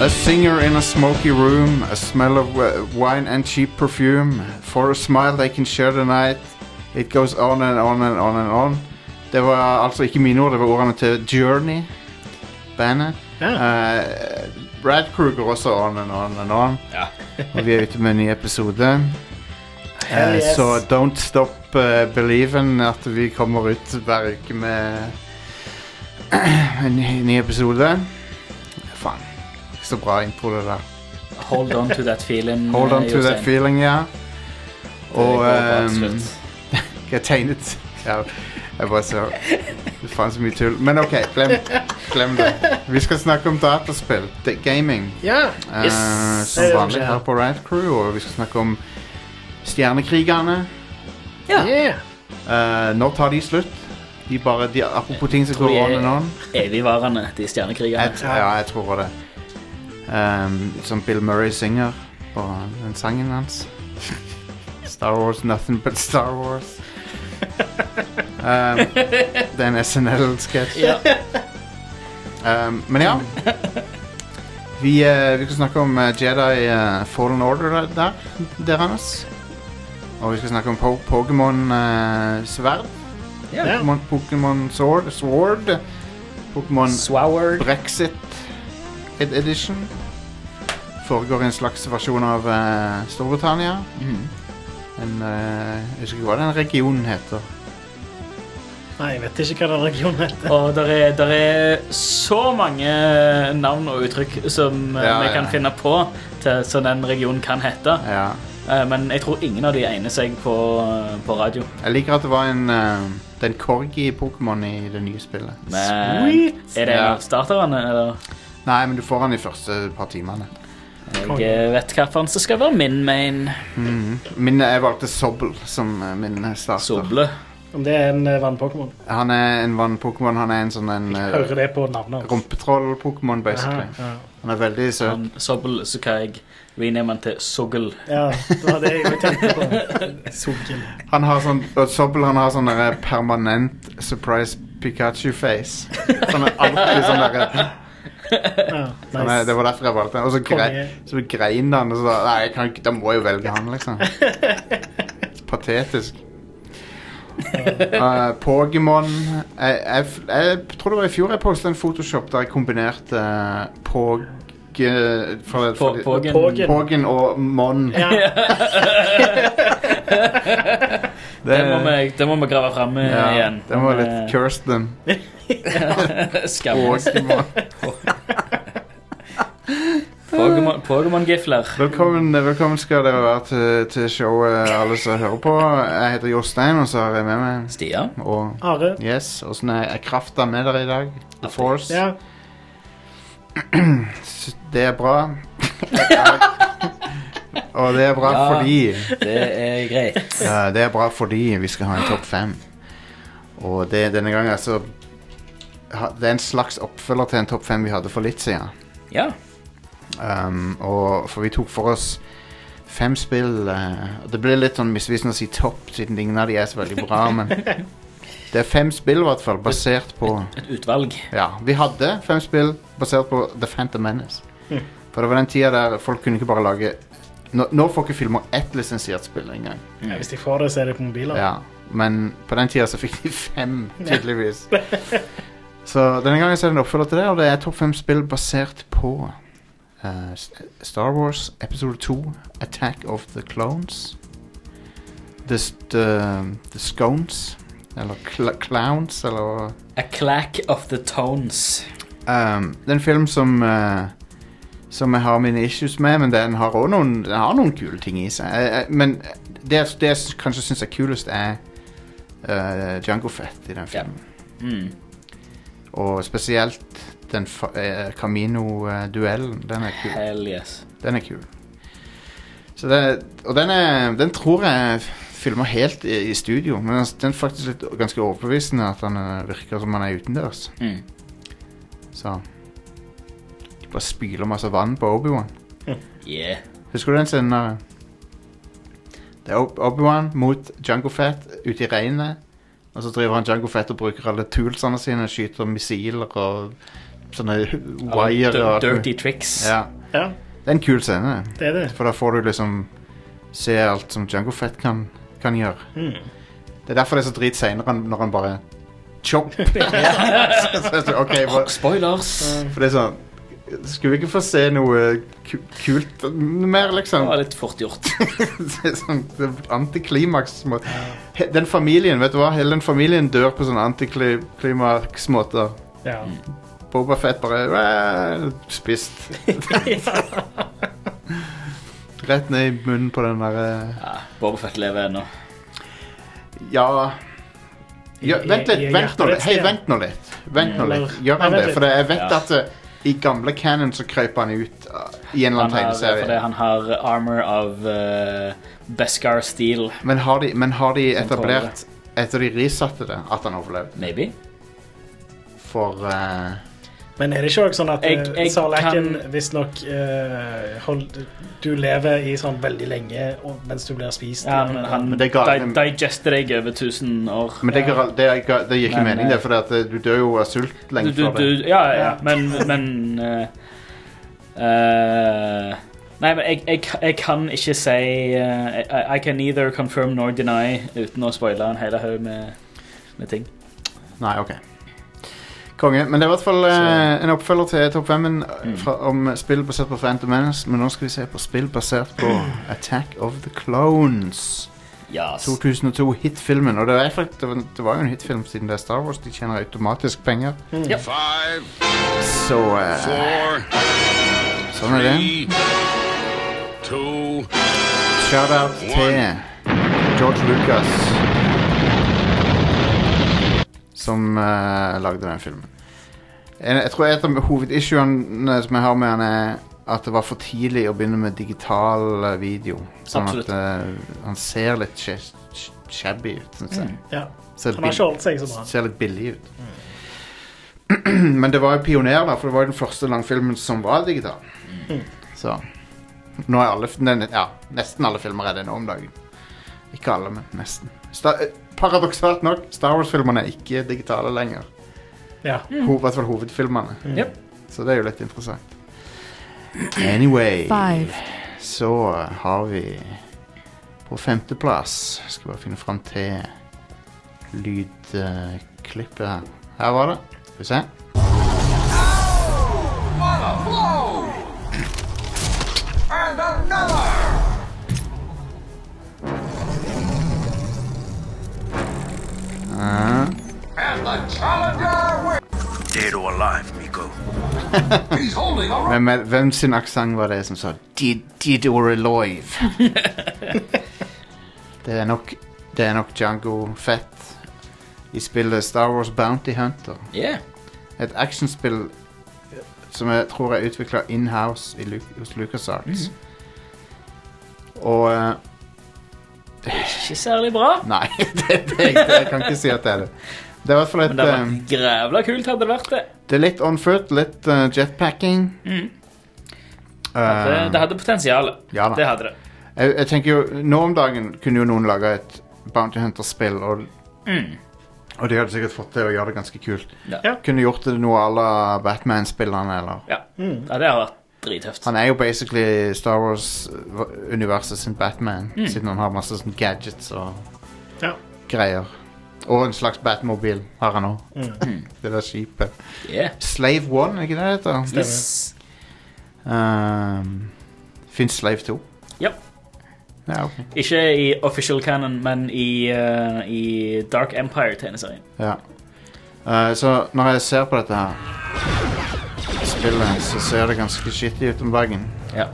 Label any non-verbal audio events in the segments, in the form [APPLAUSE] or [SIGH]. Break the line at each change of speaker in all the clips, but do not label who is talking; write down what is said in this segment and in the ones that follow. A singer in a smoky room, a smell of uh, wine and cheap perfume. For a smile they can share the night. It goes on and on and on and on. Det var altså ikke mine ord, det var ordene til Journey, bandet.
Ja.
Eh, Brad Kruger også on and on and on.
Ja.
[LAUGHS] Og vi er ute med en ny episode.
Hell
Eh,
yes.
Så don't stop eh, believing at vi kommer ut hver uke med [CLEARS THROAT] en ny- ny episode. Faen. Ikke så bra intro, det der.
Hold on to that feeling.
Hold on
eh,
to that
Jostein.
feeling, ja. Og
Det går bra til
ehm,
slutt.
jeg tegnet ja, Jeg bare så Det faen så mye tull. Men OK, glem, glem det. Vi skal snakke om dataspill. Det- Gaming.
Ja.
Eh,
Yes.
som
Det er det
vanlig
som skjer.
her på Rad Crew, og vi skal snakke om Stjernekrigerne.
Yeah.
Eh, når tar de slutt? De bare, de, apropos ting som
Tror
går
jeg-
on and on.
Evigvarende, de stjernekrigerne.
Jeg, t- ja, jeg tror det. Um, som Bill Murray synger på den sangen hans. [LAUGHS] Star Wars, nothing but Star
[LAUGHS]
Wars. Um, det er en SNL-sketsj.
Ja.
Um, men ja. Vi, eh, vi skal snakke om eh, Jedi eh, Fallen Order der, der deres. Og vi skal snakke om po Pokémon eh, Sverd.
Ja.
Pokémon- Pokémon Sword. Sword. Pokémon
Swoward.
Brexit ed Edition. Foregår i en slags versjon av eh, Storbritannia.
Mhm.
En, eh, jeg husker ikke hva den regionen heter.
Nei, jeg vet ikke hva den regionen heter.
Og der er, der er så mange navn og uttrykk som eh,
Ja,
vi
ja.
kan finne på til, som den regionen kan hete.
Ja.
Eh, Men jeg tror ingen av de egner seg på, eh, på radio.
Jeg liker at det var en, eh, det er en corgi-pokémon i det nye spillet.
Men
Sweet!
er det en
Ja.
av starterne, eller?
Nei, men du får den de første par timene.
Jeg eh, vet hvilken som skal være min main
Mhm. Min, jeg valgte Sobble som eh, min starter.
soble.
Om det er en eh, vannpokémon.
Han er en vann-pokémon. Han er en sånn en eh,
Hører det på navnet hans.
rumpetroll-pokémon, basically.
Aha,
Han er veldig søt.
Han Sobbel, så kan jeg rename han til [LAUGHS] Soggel.
Ja, ja, det var det
[LAUGHS]
jeg tenkte på. Sogel.
Han har sånn, og Sobble han har sånn der permanent surprise Pikachu-face. Sånn er alltid sånn der
[LAUGHS] Ja,
han er- Det
nice.
var derfor jeg valgte han. Og så, grei,
Konge.
så grein han. Og så, nei, jeg kan ikke, da må jeg jo velge han, liksom.
[LAUGHS]
Patetisk. Eh, Pokémon jeg, jeg, f- jeg tror det var i fjor jeg postet en Photoshop der jeg kombinerte eh, Pog... eh, For, for,
På- Pågen.
Pågen.
Pogen og Mon.
[LAUGHS] Ja,
Det må vi, det må vi grave fram eh,
ja,
igjen. Eh,
Det var
Eh,
litt
[LAUGHS]
Kirsten.
Skammes.
Pokémon.
Pokémon- Pokémon-gifler.
Velkommen, velkommen skal dere være til, til showet, alle som hører på. Jeg heter Jostein, og så har jeg med meg
Stian.
Og
Are.
yes, åssen er er krafta med dere i dag? The Force.
Ja.
S- Det er bra. [LAUGHS] og det er bra
Ja.
fordi
Det er greit.
ja, Det er bra fordi vi skal ha en topp fem. Og det denne gangen er så ha- Det er en slags oppfølger til en topp fem vi hadde for litt siden.
Ja.
Um, og for vi tok for oss fem spill eh, og Det blir litt sånn misvisende å si topp, siden ingen av de er så veldig bra, men Det er fem spill, i hvert fall, basert på
Et utvalg.
Ja, vi hadde fem spill basert på The Phantom Menace. For det var den tida der folk kunne ikke bare lage Nå, nå får ikke filmer ett lisensiert spill engang.
Ja, Hvis de får det, så er det på mobiler.
Ja, men på den tida så fikk de fem, tydeligvis. Så denne gangen så er det en oppfølger til det, og det er topp fem spill basert på eh, S- Star Wars episode 2, Attack of the Clones. The, st- eh, the Scones, eller cl Clowns, eller
A clack of the tones.
um, Det er en film som eh, Som jeg har mine issues med, men den har også noen, den har noen kule ting i seg. Eh, eh, men det, det jeg s- kanskje syns er kulest, er uh, Jungo Fett i den
Ja.
filmen.
Mm.
Og spesielt den fa- eh, Camino-duellen. Den er kul.
Hell yes.
Den er kul. Så det, og den, er, den tror jeg filmer helt i, i studio, men den, den er faktisk litt, ganske overbevisende at den eh, virker som han er utendørs.
Mm.
Så De bare spyler masse vann på Obi-Wan.
Yeah.
Husker du den scenen? der? Det er Ob- Obi-Wan mot Jango Fett ute i regnet. Og så driver han Jango Fett og bruker alle toolsene sine, skyter missiler og sånne wire og
Dir-
alt mulig.
Dirty tricks.
Ja.
Ja,
Det er en kul scene,
det er det.
for da får du liksom se alt som Jango Fett kan, kan gjøre. [LAUGHS]
Mm.
Det er derfor det er så drit seinere når han bare Chop!
[LAUGHS]
[LAUGHS] Så- så- så- ok, hva-
Spoilers.
for det er sånn Skulle vi ikke få se noe ku kult mer,
Det
liksom?
var litt fort gjort.
[LAUGHS] det er sånn det er antiklimaks-måte. He- Den familien, vet du hva? Hele den familien dør på sånn antiklimaks-måter. [LAUGHS]
Ja.
Boba Fett bare "Wæ", spist. Rett ned i munnen på den eh, derre
Ja, Boba Fett lever ennå.
Ja. ja Vent litt.
I- i- i
Vent nå
hjertet
litt. Hei,
ditt,
vent nå litt. Vent nå litt.
Eller-
Gjør han
Nei, vent
det? For jeg vet
Ja.
at eh, i gamle canon så krøp han ut eh, i en eller annen
Han har, fordi
tegneserie.
han har armor av eh, Beskar Steel,
Men har de, men har de
Som
etablert, etter de risatte det, at han overlevde?
maybe.
For eh,
Men er det ikke også sånn at
Jeg-
eh,
jeg
Sarlaken
kan-
visstnok eh, hold- Du lever i sånn veldig lenge og, mens du blir spist? eh,
Ja, men han
Eh, Men det ga-
di digester deg over 1000 år.
Men det,
Ja.
går, det, går, det gir ikke
Men,
mening, det,
eh,
for at eh, du dør jo av sult
Du,
lenge
du,
før det.
du, ja, ja,
Ja.
men, men eh, eh, Nei, men jeg, jeg, jeg kan ikke si eh, I, I can neither confirm nor deny uten å spoile en hel haug med, med ting.
Nei, ok. Konge. Men det er i hvert fall eh, en oppfølger til Topp 5-en
Mm.
eh, om spill basert på Phantom Menace, men nå skal vi se på spill basert på
[CLEARS THROAT]
Attack of the Clones.
Yes.
2002-hitfilmen. Og det, er, faktisk- det var- det var jo en hitfilm siden det er Star Wars. De tjener automatisk penger.
Five,
Så eh,
four,
sånn er det.
three, two,
Shout-out til George Lucas. Som eh, lagde den filmen. Jeg, jeg tror et av hovedissuene eh, som jeg har med han, er at det var for tidlig å begynne med digital eh, video. Sånn
Absolutt.
at eh, han ser litt sh sh shabby ut, syns jeg.
ja.
Ser,
Mm. Han har ikke holdt seg så bra.
bill- ser litt billig ut. [CLEARS THROAT] Men det var jo pioner, da, for det var jo den første langfilmen som var digital.
Mm.
Så nå er alle, nei, nei, ja, nesten alle filmer er det nå om dagen. Ikke alle, men nesten. Sta- eh, paradoksalt nok, Star Wars-filmerne er ikke digitale lenger.
Ja.
Ho- I hvert fall hovedfilmerne.
Yep.
Så det er jo litt interessant. Anyway,
Five.
så har vi på femteplass Skal bare finne fram til lydklippet her. Her var det. Skal vi se.
Dead or alive, Miko. He's holding a
Hvem, er- hvem sin aksent var det som sa Did, did or alive? [LAUGHS] det er nok Det er nok Django Fett i spillet Star Wars Bounty Hunter.
Yeah.
Et actionspill som jeg tror er utvikla inhouse i Lu- hos LucasArts. Og eh,
Ikke særlig bra.
Nei, [LAUGHS] det, det, det, jeg kan ikke si at det er det. Det er i hvert fall
Men
et
det
eh,
var grævla kult hadde det vært det.
Det er litt on foot, litt eh, jetpacking.
Det,
Eh,
det hadde potensial.
ja da.
Det hadde det.
Jeg, jeg tenker jo, Nå om dagen kunne jo noen lage et Bounty Hunter-spill, og, og de hadde sikkert fått til å gjøre det ganske kult.
Ja.
Ja.
Kunne gjort det noe à la Batman-spillerne, eller
Ja. ja, det hadde vært drithøft.
Han er jo basically Star Wars-universet sin Batman, siden han har masse sånn gadgets og Eh,
Ja.
greier. Og en slags Batmobil har han òg.
Mm.
Det der skipet.
Yeah.
Slave One, er ikke det det heter?
Yes.
Um, Fins Slave 2?
Ja.
Ja, ok.
Ikke i official canon, men i, eh, i Dark Empire-tegneserien.
Ja. Eh, så når jeg ser på dette her spillet, så ser det ganske shitty ut om dagen.
Ja.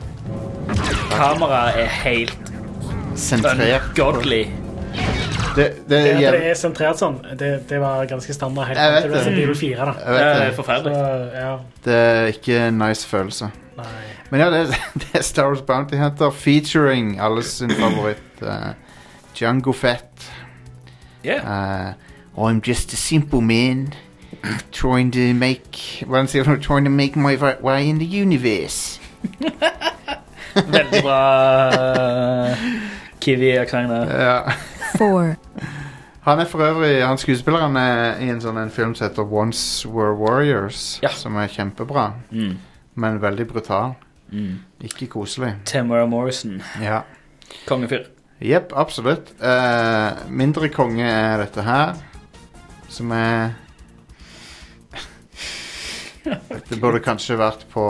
Kameraet er helt
Sentrert.
ungodly.
Det, det
Det
er
at det
jævlig
er sentrert sånn, det, det var ganske standard helt
Jeg vet
fram til
det.
Resident Evil 4, da.
Jeg
Det
vet
er
det.
Så,
Eh, forferdelig.
ja.
Det er ikke en nice følelse.
Nei. [LAUGHS]
Men ja, det, det er [LAUGHS] Star Wars Bounty Hunter featuring alles sin favoritt uh, Django Fett.
Yeah.
Uh, I'm just a simple man trying to make Hva er det han sier for noe? Trying to make my way in the universe.
Veldig bra eh, Kiwi-aksent der.
Ja.
four,
Han er for øvrig han skuespilleren er i en sånn en film som heter Once Were Warriors,
Ja.
som er kjempebra,
Mm.
men veldig brutal.
Mm.
Ikke koselig.
Tamara Morrison.
Ja.
Kongefyr.
Jepp, absolutt. Eh, mindre konge er dette her, som er Dette burde kanskje vært på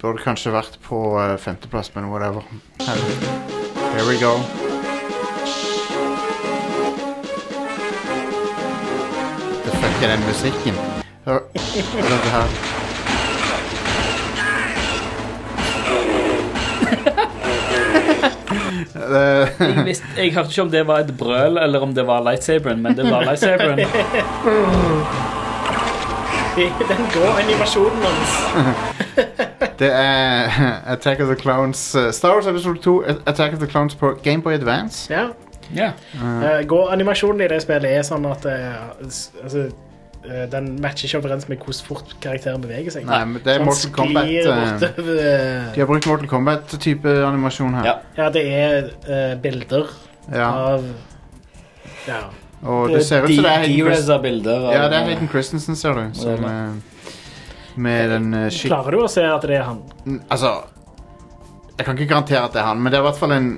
Burde kanskje vært på eh, femteplass, men whatever. Here we go. Det fucker den musikken. Hør hør dette her. Det,
Jeg, visste, jeg hørte ikke om det var et brøl eller om det var lightsaberen, men det var lightsaberen.
Den grå animasjonen hans.
Det er [LAUGHS] Attack of the Clowns eh, Star Wars episode 2 eh, Attack of the Clowns på Gameboy Advance
Ja.
Ja.
Eh, Gå animasjonen i det spillet er sånn at eh, s- altså, eh, den matcher ikke overens med hvordan fort karakteren beveger seg. Sånn
Nei, men det er
Han
Mortal Kombat
sklir
eh,
bortover, eh,
De har brukt Mortal Kombat type animasjon her
Ja.
Ja, det er eh, bilder
Ja,
av Ja.
Og det ser ut som det er Hayden Christ-
De-reza bilder.
Ja, det er Hayden Christensen ser du som,
det
eh, Med den eh, skik-
Klarer du å se at det er han?
N- Altså Jeg kan ikke garantere at det er han Men det er i hvert fall en,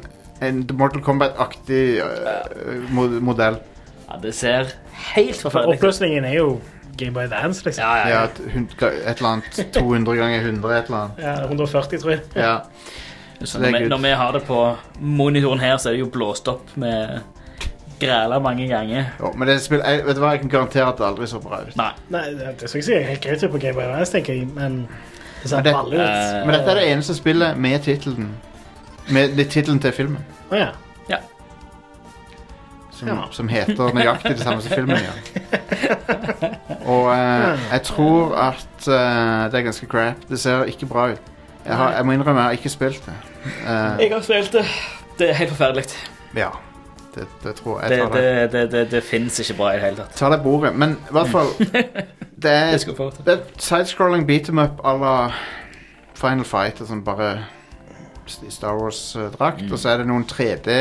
en Mortal Kombat-aktig eh, mod- modell
Ja, det ser helt
For
forferdelig ut.
oppløsningen er jo Game Boy Advance, liksom.
Ja, ja, ja.
Ja, et, hun- et eller annet 200 ganger 100 et eller annet
Ja, 140, tror jeg.
Ja
Så
Det er
når, vi,
good.
når vi har det på monitoren her, så er det jo blåst opp med græla mange ganger.
Jo, men det spill, jeg, vet du hva, jeg kan garantere at det aldri så bra ut.
Nei.
Nei, det det skal ikke si helt greit ut på Game Boy Advance, tenker jeg, men det ser
Men det-
balle ut. Å
eh,
Men dette er det eneste spillet med tittelen Med litt tittelen til filmen.
ja.
Som,
Ja.
som heter nøyaktig det samme som filmen gjør. Og eh, jeg tror at eh, det er ganske crap. Det ser ikke bra ut. Jeg, har, jeg må innrømme jeg har ikke spilt det. Eh,
Jeg har spilt det. Det er helt forferdelig.
ja. Det, det tror jeg.
Det,
Jeg tar
det,
det,
det, det, det fins ikke bra i det hele tatt.
tar det bordet. Men i hvert fall Det er
Jeg skal få det.
Det er et sidescrolling beat em up à la Final Fight, og sånn bare i Star Wars-drakt. Og så er det noen 3D,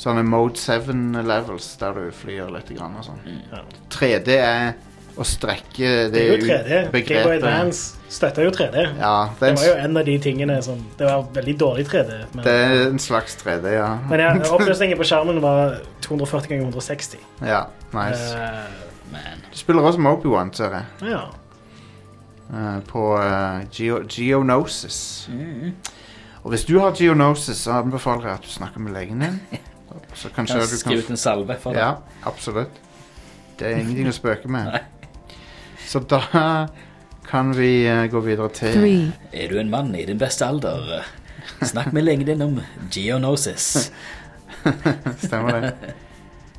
sånne Mode 7 levels, der du flyr litt grann og sånn.
Mm,
Ja.
3D er å strekke det,
Det er jo
ut
3D. Game Boy Advance støtter jo 3D.
Ja, det
Det
er,
var jo
en,
en av de tingene som Det var veldig dårlig 3D. Men,
det er en slags 3D, ja.
men ja, oppløsningen på skjermen var 240 ganger 160.
Ja, nice.
Eh,
Man.
Du spiller også Moby-One, ser jeg.
ja.
eh, på eh, Geo Geonosis. Og hvis du har Geonosis, så anbefaler jeg at du snakker med legen din. Så kanskje
Kan
du
skrive ut en salve for det.
Ja, absolutt. Det er ingenting å spøke med.
[LAUGHS] Nei.
Så da kan vi eh, gå videre til
three,
Er du en mann i din beste alder? Snakk med legen din om geonosis.
Stemmer det.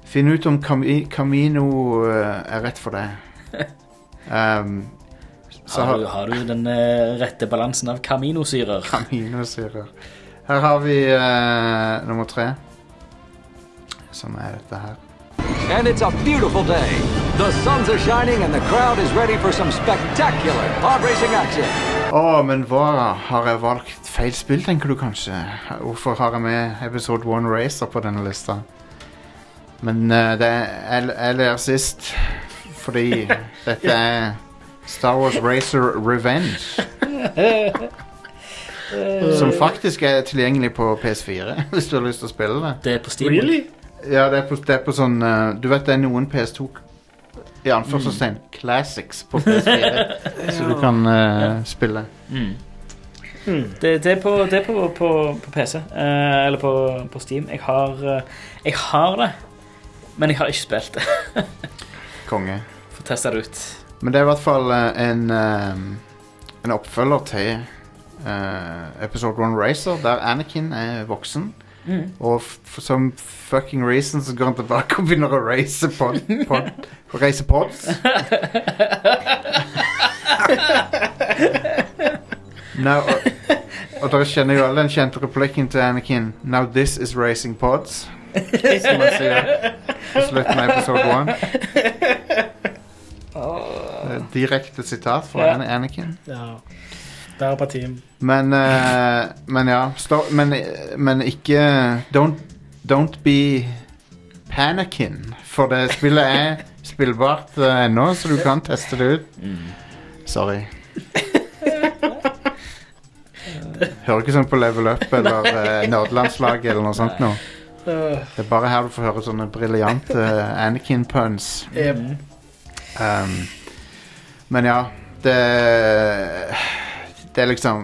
Finn ut om Cami Camino eh, er rett for
[LAUGHS]
deg. Um, så
Har du,
har
har du den eh, rette balansen av kaminosyrer?
Caminosyrer. Her har vi eh, nummer tre, som er dette her.
And it's a beautiful day. The suns are shining and the crowd is ready for some spectacular pod racing action.
Å, men hva? Har jeg valgt feil spill, tenker du kanskje? Hvorfor har jeg med Episode 1 Racer på denne lista? Men eh, det er, jeg, jeg ler sist, fordi dette er Star Wars Racer Revenge. Som faktisk er tilgjengelig på PS4, [LAUGHS] hvis du har lyst til å spille det.
Det er på Steam.
Really?
Ja, det er på, det er på sånn eh, Du vet det er noen PS2 i anførselstegn classics på PS4 som du kan eh, spille.
Mm.
Hmm.
Det, det er på, det er på, på, på PC. eh, eller på, på Steam. Jeg har, eh, jeg har det, men jeg har ikke spilt det.
Konge.
Får teste det ut.
Men det er i hvert fall eh, en, eh, en oppfølger til eh, Episode 1 Racer, der Anakin er voksen. Og f- for some fucking reason så går han tilbake og begynner å race pod, pod, å race pods. Now, og, og dere kjenner jo alle den kjente replikken til Anakin Now this is racing pods. Som han sier på slutten av episode 1. Eh, Direkte sitat fra
Ja.
An- Anakin.
Ja. Der på team.
Men, eh, men ja stå, men, men ikke don't, don't be Panakin. For det spillet er spillbart eh, ennå, så du kan teste det ut. Sorry. Hører ikke sånn på Level Up eller eh, Nerdelandslaget eller noe sånt nå.
Øh,
Det er bare her du får høre sånne briljante Anakin-puns.
eh,
Um, men ja, det Det er liksom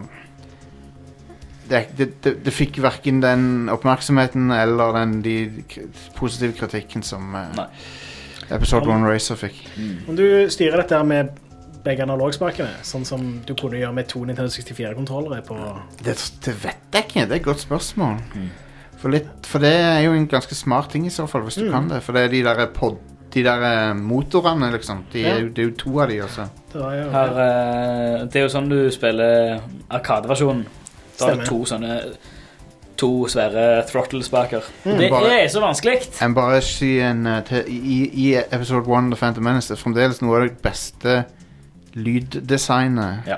det, det, det, det fikk verken den oppmerksomheten eller den de k- positive kritikken som eh,
Nei.
Episode 1 Racer fikk.
Mm.
Om du styrer dette her med begge analogspakene, sånn som du kunne gjøre med to Nintendo 64-kontrollere på
Det, det vet jeg ikke. Det er et godt spørsmål. For, litt, for det er jo en ganske smart ting i så fall, hvis du kan det. For det er de der, pod, de der eh, motorene, liksom. De, er
Ja.
jo- Det er jo to av de altså. også.
Det var jo-
Her, eh, det er jo sånn du spiller Arkadeversjonen. Da har
Stemmer.
du to sånne To svære throttle-spaker.
Hmm.
Det
Bare-
er så vanskelig!
Jeg må bare si en eh, til, i, I episode 1 The Phantom Menace Det er fremdeles noe av det beste lyddesignet
Ja.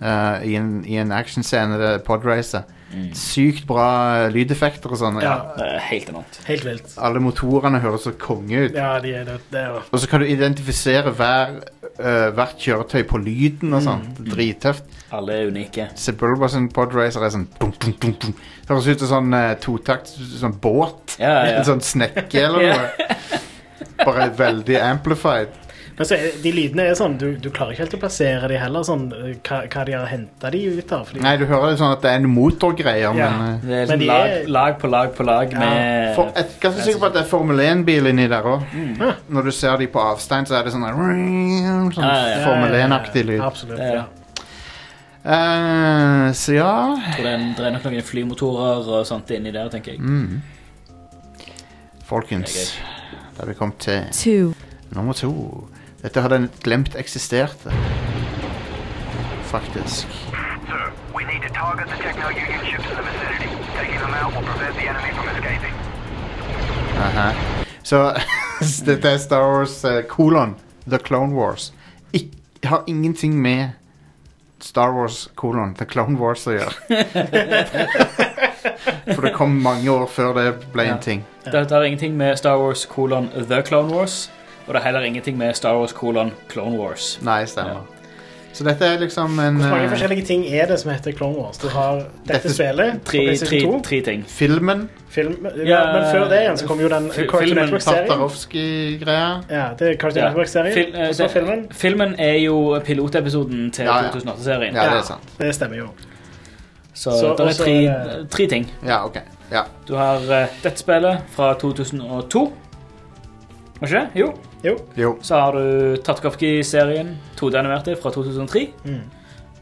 eh, i en, i en actionscene. Det er Podracer.
Mm.
Sykt bra eh, lydeffekter og sånn.
Ja,
Det er helt enormt.
helt vilt.
Alle motorene høres så konge ut.
Ja, de er det. det er jo
Og så kan du identifisere hver, eh, hvert kjøretøy på lyden og
Mm.
sånn. Det er Drittøft.
Alle er unike.
Sebulba sin Podracer er sånn dum, dum, dum, dum. Det høres ut som sånn eh, totakt sånn båt.
Ja, ja, ja.
En [LAUGHS] sånn snekke eller noe. Bare veldig amplified.
Men så er, de lydene er sånn, du, du klarer ikke helt å plassere de heller, sånn, eh, hva, hva de har henta de ut av. Fordi,
Nei, du hører det sånn at det er en motorgreier,
Ja.
men eh,
Det er
Men
sånn
de
lag,
er-
lag på lag på lag med
for, Jeg er ganske sikker på at det er Formel 1-bil inni der òg. Når du ser de på avstand, så er det sånn, der, sånn
Ja, ja,
Ja,
Formel
ja, ja,
1-aktig lyd.
Absolutt.
Det er-
Ja.
Eh, så ja
Og det er, det er nok noen flymotorer og sånt inni der, tenker jeg.
mm. Folkens, da har vi kommet til
two,
nummer to. Dette hadde en glemt eksisterte, faktisk.
Sir, we need to target the Techno-Union ships in the vicinity. Taking them out will prevent the enemy from escaping.
Aha. Så [LAUGHS] dette er Star Wars eh, kolon The Clone Wars. Ik har ingenting med Star Wars kolon The Clone Wars å gjøre. For det kom mange år før det ble
Ja.
en ting.
Det har ingenting med Star Wars kolon The Clone Wars, og det er heller ingenting med Star Wars kolon Clone Wars.
Nei, stemmer. Så dette er liksom en
Hvor mange
eh,
forskjellige ting er det som heter Clone Wars? Du har dette
Dette-
spillet, på
Tre, tre,
PlayStation 2,
tre ting.
Filmen.
film, ja,
Ja,
men før det igjen så kom jo den
fi-
Cartoon
filmen
Network-serien.
Tartarovskij-greia.
Ja, det er Cartoon
Ja. Fil-
Network-serien,
eh,
og så
det-
filmen.
Filmen er jo pilotepisoden til
Ja, ja.
2008-serien.
Ja, det er sant.
Det stemmer jo.
Så,
Så-
det
og
er
så
tre,
er
tre ting.
Ja, OK. Ja.
Du har eh, dette spillet fra 2002. Var ikke det? Jo.
Jo.
Jo.
Så har du Tatkovki-serien, 2D-animerte fra 2003.
Mm.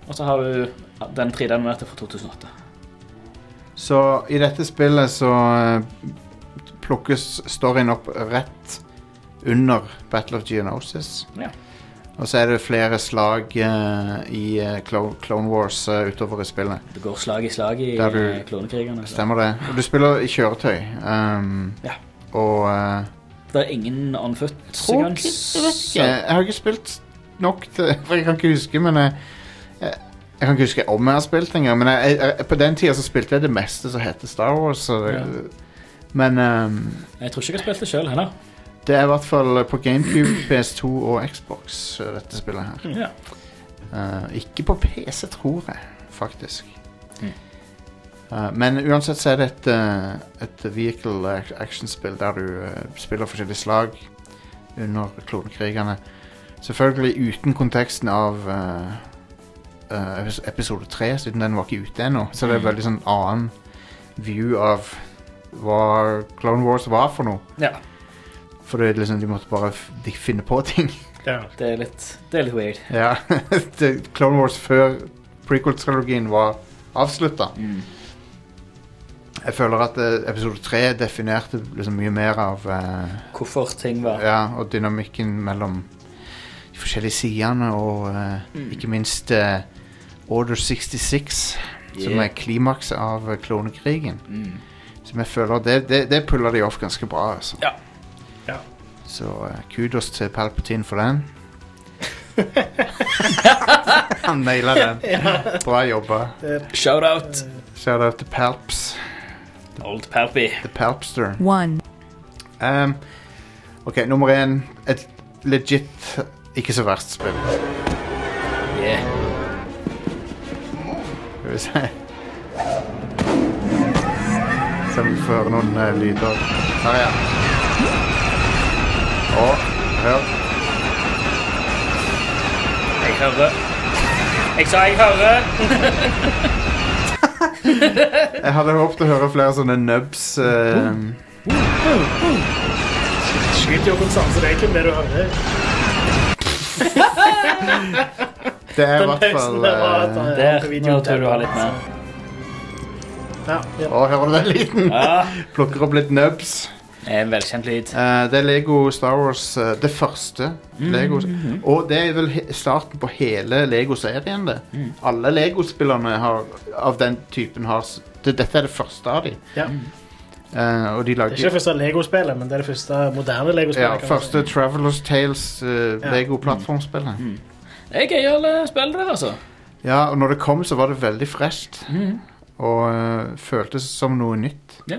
Og så har du den 3D-animerte fra 2008.
Så i dette spillet så eh, plukkes storyen opp rett under Battle of Geonosis.
Ja.
Og så er det flere slag eh, i eh, Clo Clone Wars eh, utover i spillet.
Det går slag i slag i
Der du-
eh, klonekrigerne. så.
Stemmer det? Og du spiller i kjøretøy. Um,
Ja.
Og eh,
Det er ingen
tror ikke- jeg vet ikke.
on-foot-sekvens.
eh, Jeg har ikke spilt nok til [LAUGHS] For jeg kan ikke huske, men jeg, jeg, jeg kan ikke huske om jeg har spilt engang. Men jeg, jeg, jeg, på den tida så spilte jeg det meste som heter Star Wars. Så det,
Ja.
Men ehm,
Jeg tror ikke jeg har spilt det sjøl heller.
Det er i hvert fall på GameCube, PS2 og Xbox, eh, dette spillet her.
Ja.
Eh, ikke på PC, tror jeg, faktisk.
Mm.
Eh, men uansett så er det et, eh, et vehicle ac- action-spill der du eh, spiller forskjellige slag under klonekrigene. Selvfølgelig uten konteksten av eh, eh, epis- episode 3, siden den var ikke ute ennå. Så
Mm.
det er veldig sånn annen view av hva Clone Wars var for noe.
Ja.
For det er liksom, de måtte bare f de finne på ting. [LAUGHS]
Ja.
Det er litt, det er litt weird.
Ja, [LAUGHS] det, Clone Wars før prequel-trilogien var avslutta.
Mm.
Jeg føler at eh, episode 3 definerte liksom mye mer av eh,
Hvorfor ting var
ja, og dynamikken mellom de forskjellige sidene, og eh,
Mm.
ikke minst eh, Order 66, som
Yeah.
er klimakset av eh, klonekrigen.
Mm.
Som jeg føler Det, det, det puller de off ganske bra, altså.
Ja.
Ja.
Så eh, kudos til Palpatine for
[LAUGHS]
den. Han naila den. Bra jobba.
Shout-out
Shout out til Palps.
Old Pappy.
The Palpster.
one,
Um, OK, nummer én. Et legit ikke så verst spill.
Yeah.
Skal vi se Se om vi får noen eh, lyder. Her, ja. Og hør.
Jeg hører. Jeg sa jeg hører.
Jeg hadde håpet å høre flere sånne nubs.
Mm.
eh,
Skyt jo konstant, så det er ikke det du hører.
det er i
Den
hvert
pausen
fall
der var at
eh,
han-
Der.
på videoen
Nå tror jeg du har
der.
litt mer.
Ja, ja.
Å, hører du den lyden? Plukker opp litt nubs.
Det er En velkjent lyd.
Eh, det er Lego Star Wars, eh, det første. Lego. Og det er vel he starten på hele Lego-serien. det. Alle Lego-spillerne har- av den typen har s- det, Dette er det første av dem.
Ja.
og de
Det er ikke det
lagde
første Lego-spillet, men det er det første moderne Lego-spillet.
ja,
kan man si. Mm.
første Travelers Tales eh, Lego-plattformspillet.
Det er gøyale spill der, altså.
Ja, og når det kom, så var det veldig fresht. Og eh, føltes som noe nytt.
Ja.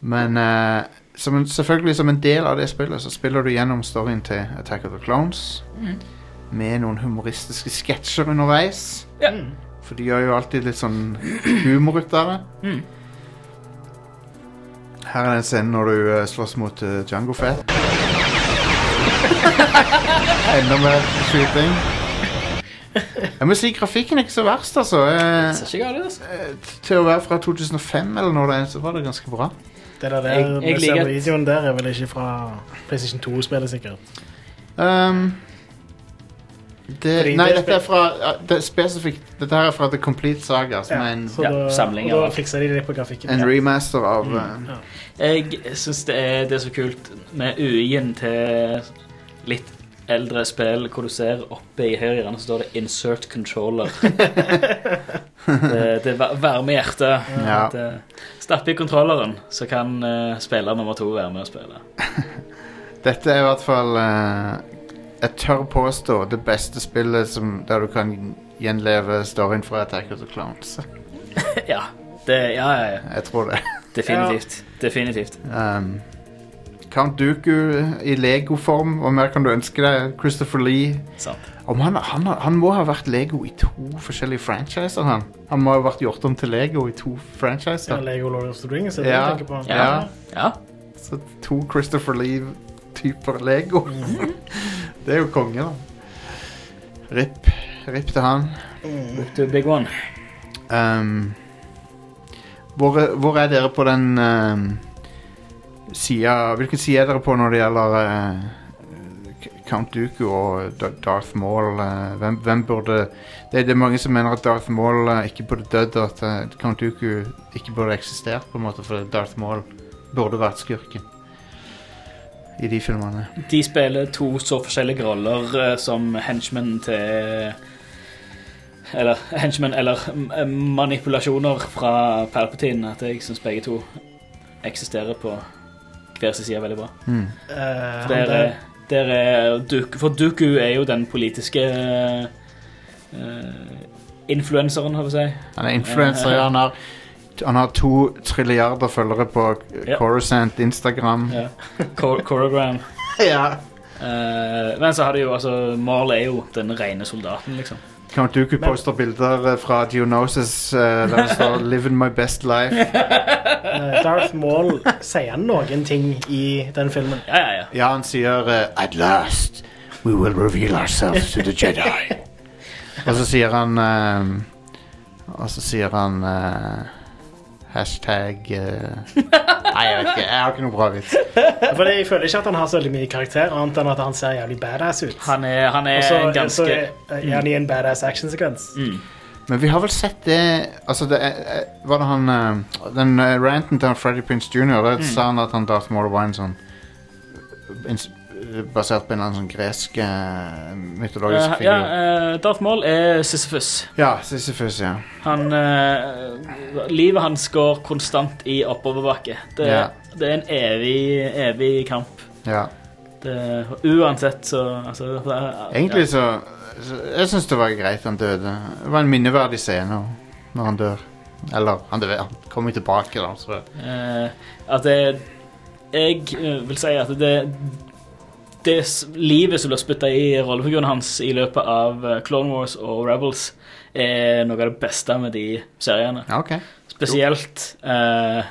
Men eh, som en, selvfølgelig som en del av det spillet så spiller du gjennom storyen til Attack of the Clones. Med noen humoristiske sketsjer underveis.
Ja.
For de gjør jo alltid litt sånn humor ut av det. Her er den scenen når du eh, slåss mot uh, Jango Fett. Enda mer skyting. Jeg må si grafikken er ikke så verst, altså. Eh,
Det er ikke galt, altså.
eh, til å være fra 2005 eller når det er, så var det ganske bra.
Det der, der
Jeg- jeg
vi ser
liker-
på videoen der, er vel ikke fra PlayStation 2-spillet, sikkert.
Ehm, det,
Fordi
nei,
det
dette er fra ja, det er spesifikt Dette her er fra The Complete Saga, som er en,
så
ja,
da,
samling
og
av
da
alt.
fikser de det på grafikken.
en
Ja. Mm.
remaster av eh,
Jeg syns det, er- det er så kult med UI-en til litt eldre spill, hvor du ser oppe i høyre hjørne så står det 'insert controller'. det, det var- varme i hjertet.
Ja.
At, eh, Stapp i kontrolleren, så kan eh, spiller nummer to være med og spille.
Dette er i hvert fall eh, Jeg tør påstå det beste spillet som, der du kan gjenleve storyen fra Attack of the Clowns.
ja. Det, ja, ja, ja.
[LAUGHS] Jeg tror det.
Definitivt. Definitivt.
Um, Count Dooku i legoform. Hva mer kan du ønske deg? Christopher Lee.
Sant.
Om han, han, har- han må ha vært Lego i to forskjellige franchiser. Han Han må ha vært gjort om til Lego i to
Ja,
franchiser.
Lego Lord of the Rings, er det
Ja.
du tenker på?
Ja.
Ja.
Så to Christopher Lee-typer Lego. det er jo konge, da. Rip. Rip til han.
Book to big one.
Um, hvor, hvor er dere på den um, sida Hvilken side er dere på når det gjelder eh, K- Count Dooku og Da- Darth Maul? eh, hvem, hvem burde det, det er mange som mener at Darth Maul eh, ikke burde dødd, og at eh, Count Dooku ikke burde eksistert, på en måte, for Darth Maul burde vært skurken i de filmene.
De spiller to så forskjellige roller eh, som henchmen til Eller henchmen eller m- eh, manipulasjoner fra Palpatine. At jeg syns begge to eksisterer på hver sin side veldig bra.
Eh, han
Der,
der-
er- der er Dooku- For Duku er jo den politiske eh, influenseren, har vi å si.
Han er influenser, ja. Han har, han har to trilliarder følgere på
Ja.
Coruscant Instagram.
[LAUGHS]
Ja. Cor- Choreogram.
[LAUGHS] ja.
Eh, men så har de jo altså Maul er jo den rene soldaten, liksom.
Count Dooku poster bilder eh, fra Geonosis eh, der det står 'Living my best life'.
eh, Darth Maul sier noen ting i den filmen.
Ja, ja, ja.
Ja, han sier eh, 'At last we will reveal ourselves to the Jedi'. og så sier han eh, Og så sier han eh, hashtag eh, Nei, jeg vet ikke. Jeg har ikke noe bra vits.
For jeg føler ikke at han har så veldig mye karakter, annet enn at han ser jævlig badass ut.
Han er, han er
Og så-
Eh, ganske
så er- er han i en badass actionsekvens.
Men vi har vel sett det Altså, det er, er- var det han eh, Den eh, ranten til han Freddy Prince Jr.,
Mm.
der sa han at han Darth Maul var en sånn eh, ins- Basert på en eller annen sånn gresk eh, mytologisk
Eh,
figur.
ja, eh, Darth Maul er Sisyphus.
Ja, Sisyfus, ja.
Han, eh, livet hans går konstant i oppoverbakke. Det,
Ja.
det er en evig, evig kamp.
ja.
Det, uansett, så altså, det er-
Egentlig så, så Jeg syns det var greit han døde. Det var en minneverdig scene når- når han dør. Eller han, døde, han kom jo tilbake, da. Så.
ja. Eh, at det, jeg eh, vil si at det det s- livet som blir spytta i rollefiguren hans i løpet av eh, Clone Wars og Rebels, er noe av det beste med de seriene.
Ja, ok.
Spesielt eh,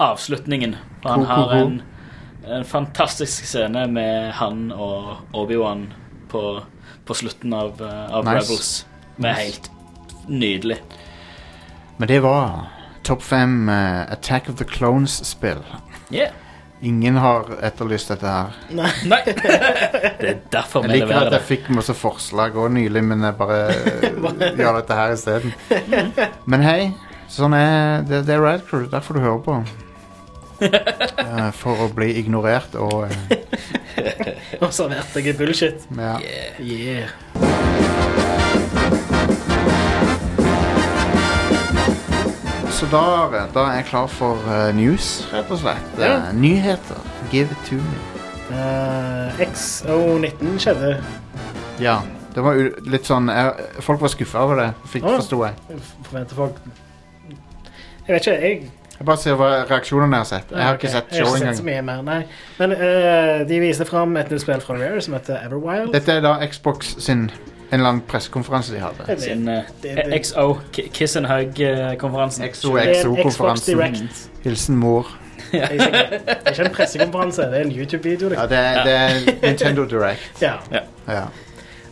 avslutningen. Og
Ho, ho,
han har
ho.
en, en fantastisk scene med han og Obi-Wan på, på slutten av, eh, av
Nice.
Rebels. Det er
Nice.
helt nydelig.
Men det var topp fem eh, Attack of the Clones-spill.
Yeah.
Ingen har etterlyst dette her.
Nei. [LAUGHS] Det er derfor
Jeg
vi
liker
leverer
at
det.
jeg fikk masse forslag òg nylig, men jeg bare eh, gjør dette her isteden. Men hei, sånn er det, det er Rad Crew. Derfor du hører på. Eh, for å bli ignorert og eh,
[LAUGHS] Og servert deg bullshit.
ja.
Yeah.
Så da, da er jeg klar for eh, news, rett og slett. Eh, nyheter. Give it to me.
Eh, XO19 skjedde.
Ja. Det var u- litt sånn jeg, Folk var skuffa over det, fikk,
Å.
forsto jeg.
Forventer folk Jeg vet ikke, jeg
Jeg bare ser hva reaksjonene jeg har sett. Jeg har ikke
Ok,
sett
jeg har
show
ikke sett så
engang.
mye mer, nei. Men eh, de viste fram et nytt spill fra Rare som heter Everwild.
Dette er da Xbox sin en eller annen pressekonferanse de hadde.
Det-
Sin eh,
det- det-
XO, Ki- Kiss and eh, Hug-konferansen.
Det er en Xbox
XOXO-konferansen.
Direct.
Hilsen mor.
Det er sikkert- det er ikke en pressekonferanse, det er en YouTube-video.
Ja,
liksom.
det er, det er Nintendo
[LAUGHS]
Direct.
Ja.
Ja.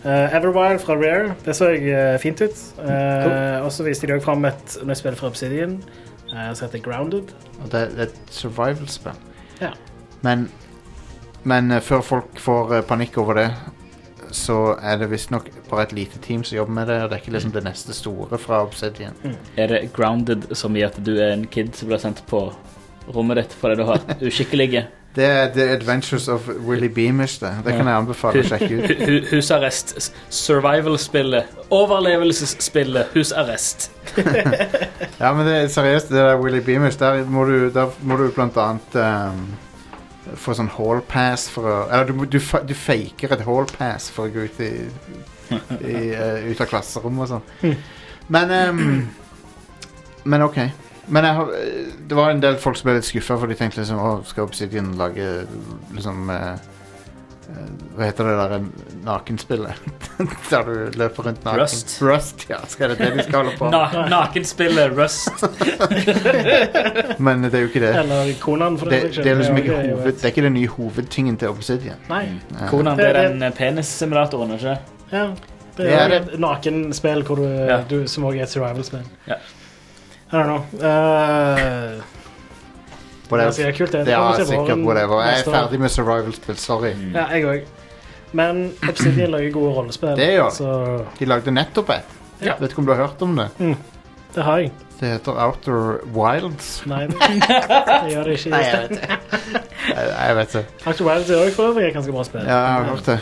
Eh, Everwild fra Rare. Det så eh, fint ut. Eh, Og så viste de òg fram et nytt spill fra Obsidian eh, som heter Grounded.
Og det det er et survival-spill.
Ja.
Men, men eh, før folk får eh, panikk over det, så er det visstnok bare et lite team som jobber med det, og det er ikke liksom det neste store fra Obsidian.
Er det grounded som i at du er en kid som blir sendt på rommet ditt fordi du har
[LAUGHS]
vært uskikkelige?
Det er The Adventures of Willy Beamish, det. Det kan jeg anbefale å sjekke ut.
Hu- hu- Husarrest. s- Survival-spillet. Overlevelsesspillet. Husarrest.
Ja, men det er seriøst, det der Willy Beamish, der må du, der må du blant annet ehm, få sånn hall pass for å Eller du, må- du, fa- du faker et hall pass for å gå ut, i, i, eh, ut av klasserommet og sånn. Men ehm, Men OK. Men jeg har, eh, det var en del folk som ble litt skuffa, for de tenkte liksom Å, skal Obsidian lage liksom eh, eh, Hva heter det der nakenspillet? [LAUGHS] der du løper rundt naken?
Rust.
Rust, ja. Skal det det de skal holde
[LAUGHS]
på med?
Na nakenspillet Rust.
Men det er jo ikke det.
Eller Konan, for
Eh, det,
den saks skyld.
det, er liksom ikke
jo
hoved,
et-
det er ikke den nye hovedtingen til Obsidian.
Nei.
Eh,
[LAUGHS] Konan, det er den eh, penissimulatoren, ikke
Ja.
Ja,
Det er jo
det-
et nakenspill hvor du,
Ja.
du, som også er et survival-spill.
Ja.
I don't know. Eh,
whatever.
det er kult, det.
Det
kommer
er
til
sikkert
våren
whatever. Jeg
neste
er
år.
ferdig med survival-spill, sorry.
Ja, jeg òg. Men Obsidian lager gode rollespill.
Det gjør de.
så
De lagde nettopp et.
Ja. Mm.
Vet ikke om du har hørt om det?
det har jeg.
Det heter Outer Wilds.
Nei, det, det gjør det
Nei, jeg
ikke.
[LAUGHS] vet det. jeg, jeg vet det.
Aktuelt er òg for øvrig et ganske bra spill.
Ja, jeg har hørt det.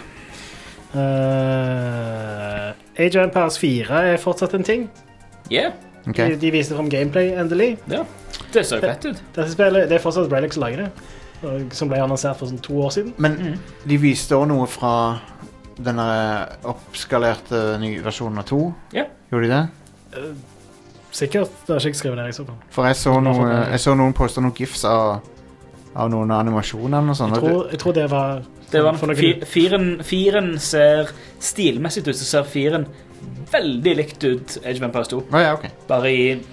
Eh, Age of Empires 4 er fortsatt en ting.
Yeah.
Ok.
De, de viste fram gameplay, endelig.
Ja. Det så fett ut.
Dette spillet, Det er fortsatt Relics som lager det, og- som ble annonsert for sånn to år siden.
Men de viste òg noe fra denne oppskalerte nye versjonen av 2.
Ja.
Gjorde de det?
Sikkert. Det har ikke jeg skrevet ned. i så fall.
For jeg så, noe,
fått det.
jeg så noen poste noen gifs av, av noen av animasjonene og sånn.
Jeg
og det-
tror, jeg tror det var
Det var
for noen-
fi- firen, firen ser stilmessig ut, så ser firen veldig likt ut Age of Empires 2.
Å ja, ok.
Bare i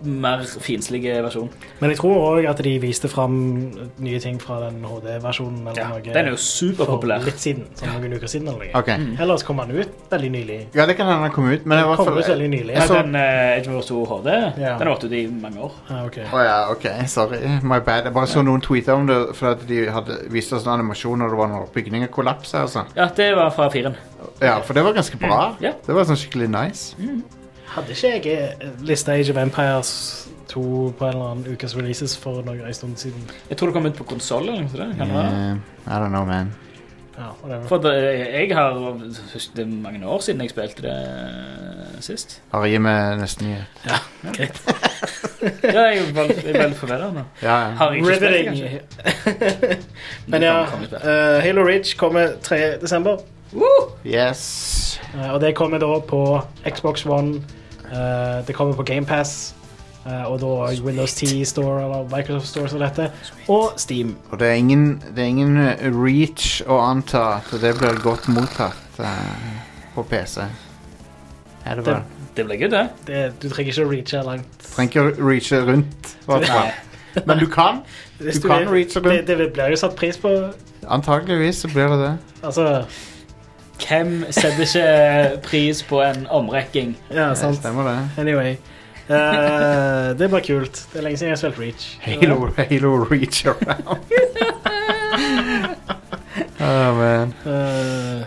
mer finslige versjon.
Men jeg tror òg at de viste fram nye ting fra den HD-versjonen. eller
Ja,
noe
den er jo
for
superpopulær.
litt siden. Sånn noen uker siden eller noe.
Ok.
Ellers kom han ut veldig nylig.
Ja, det kan hende han kom ut, men jeg var
Kom ut veldig nylig.
jeg
Nei,
så-
den eh, Age of Empires 2 HD
Ja.
Den har vært ute i mange år.
Ah, ok.
Å ja, ok, sorry. My bad. Jeg bare så noen tweeter om det fordi at de hadde vist oss en animasjon og det var noen bygninger kollapsa og sånn.
Ja, det var fra firen.
Ja, for det var ganske bra.
Mm,
Ja.
Det var sånn skikkelig nice.
Hadde ikke jeg eh, lista Age of Empires 2 på en eller annen ukes releases for noen en stund siden?
Jeg tror det kom ut på konsoll.
Eh, I don't know, man.
Ja, whatever.
For det, jeg har husk, Det er mange år siden jeg spilte det sist.
Bare gi meg nesten nyhet.
Ja, jeg er veldig, jeg er veldig forvirra nå.
Ja, ja.
Har jeg ikke spilt det, kanskje?
Riveting. [LAUGHS] Men ja,
Kom- kom i spill.
eh, Halo Ridge kommer 3. desember.
Yes.
eh, og det kommer da på Xbox One. eh, det kommer på GamePass. Eh, og da også Windows 10 Store eller Microsoft Store som dette. Og Steam.
Og det er ingen, det er ingen eh, reach å anta at det blir godt mottatt eh, på PC. Er det
Det-
bare?
Det blir gøy, det.
Det, du trenger ikke å reache langt.
Trenger ikke å reache rundt. i hvert fall. Men du kan.
Hvis
Du kan
vil-
reache
det,
rundt.
det blir jo satt pris på.
Antakeligvis så blir det det.
Altså
Hvem setter ikke pris på en omrekking?
Ja,
Det
sant.
stemmer, det.
Anyway. Eh, [LAUGHS] det er bare kult. Det er lenge siden jeg har spilt Reach.
[LAUGHS] Halo, Halo reach [LAUGHS] around. oh, man.
Eh,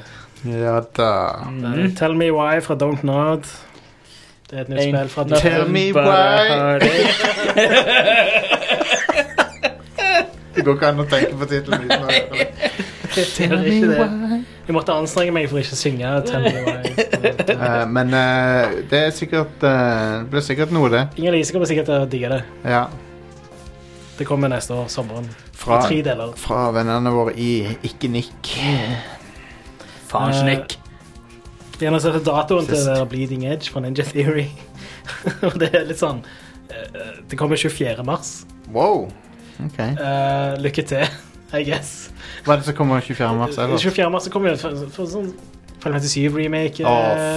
Ja da.
Mm.
eh, Tell Me Why fra Don't Nod. Det er et nytt
Ain't
spill fra
nothing
Tell me
but a
why.
heartache.
[LAUGHS] Det går ikke an å tenke på tittelen uten å høre
[LAUGHS]
det.
[LAUGHS] Det er ikke det. Jeg måtte anstrenge meg for ikke å synge Tell Me Why.
Eh, men eh, det er sikkert eh, Det blir sikkert noe, det.
Inger Lise kommer sikkert til å digge det.
Ja.
Det kommer neste år, sommeren.
Fra,
I tre deler.
fra vennene våre i Ikke Nikk.
Faen,
Eh,
Snick.
De annonserte datoen til
Sist.
det der Bleeding Edge fra Ninja Theory. [LAUGHS] Og det er litt sånn eh, eh, Det kommer 24. mars.
Wow. Ok.
Eh, lykke til, I guess.
Hva er det som kommer 24. mars? ellers?
24. mars så kommer jo for, for sånn Final Fantasy eh, 7-remake
Å,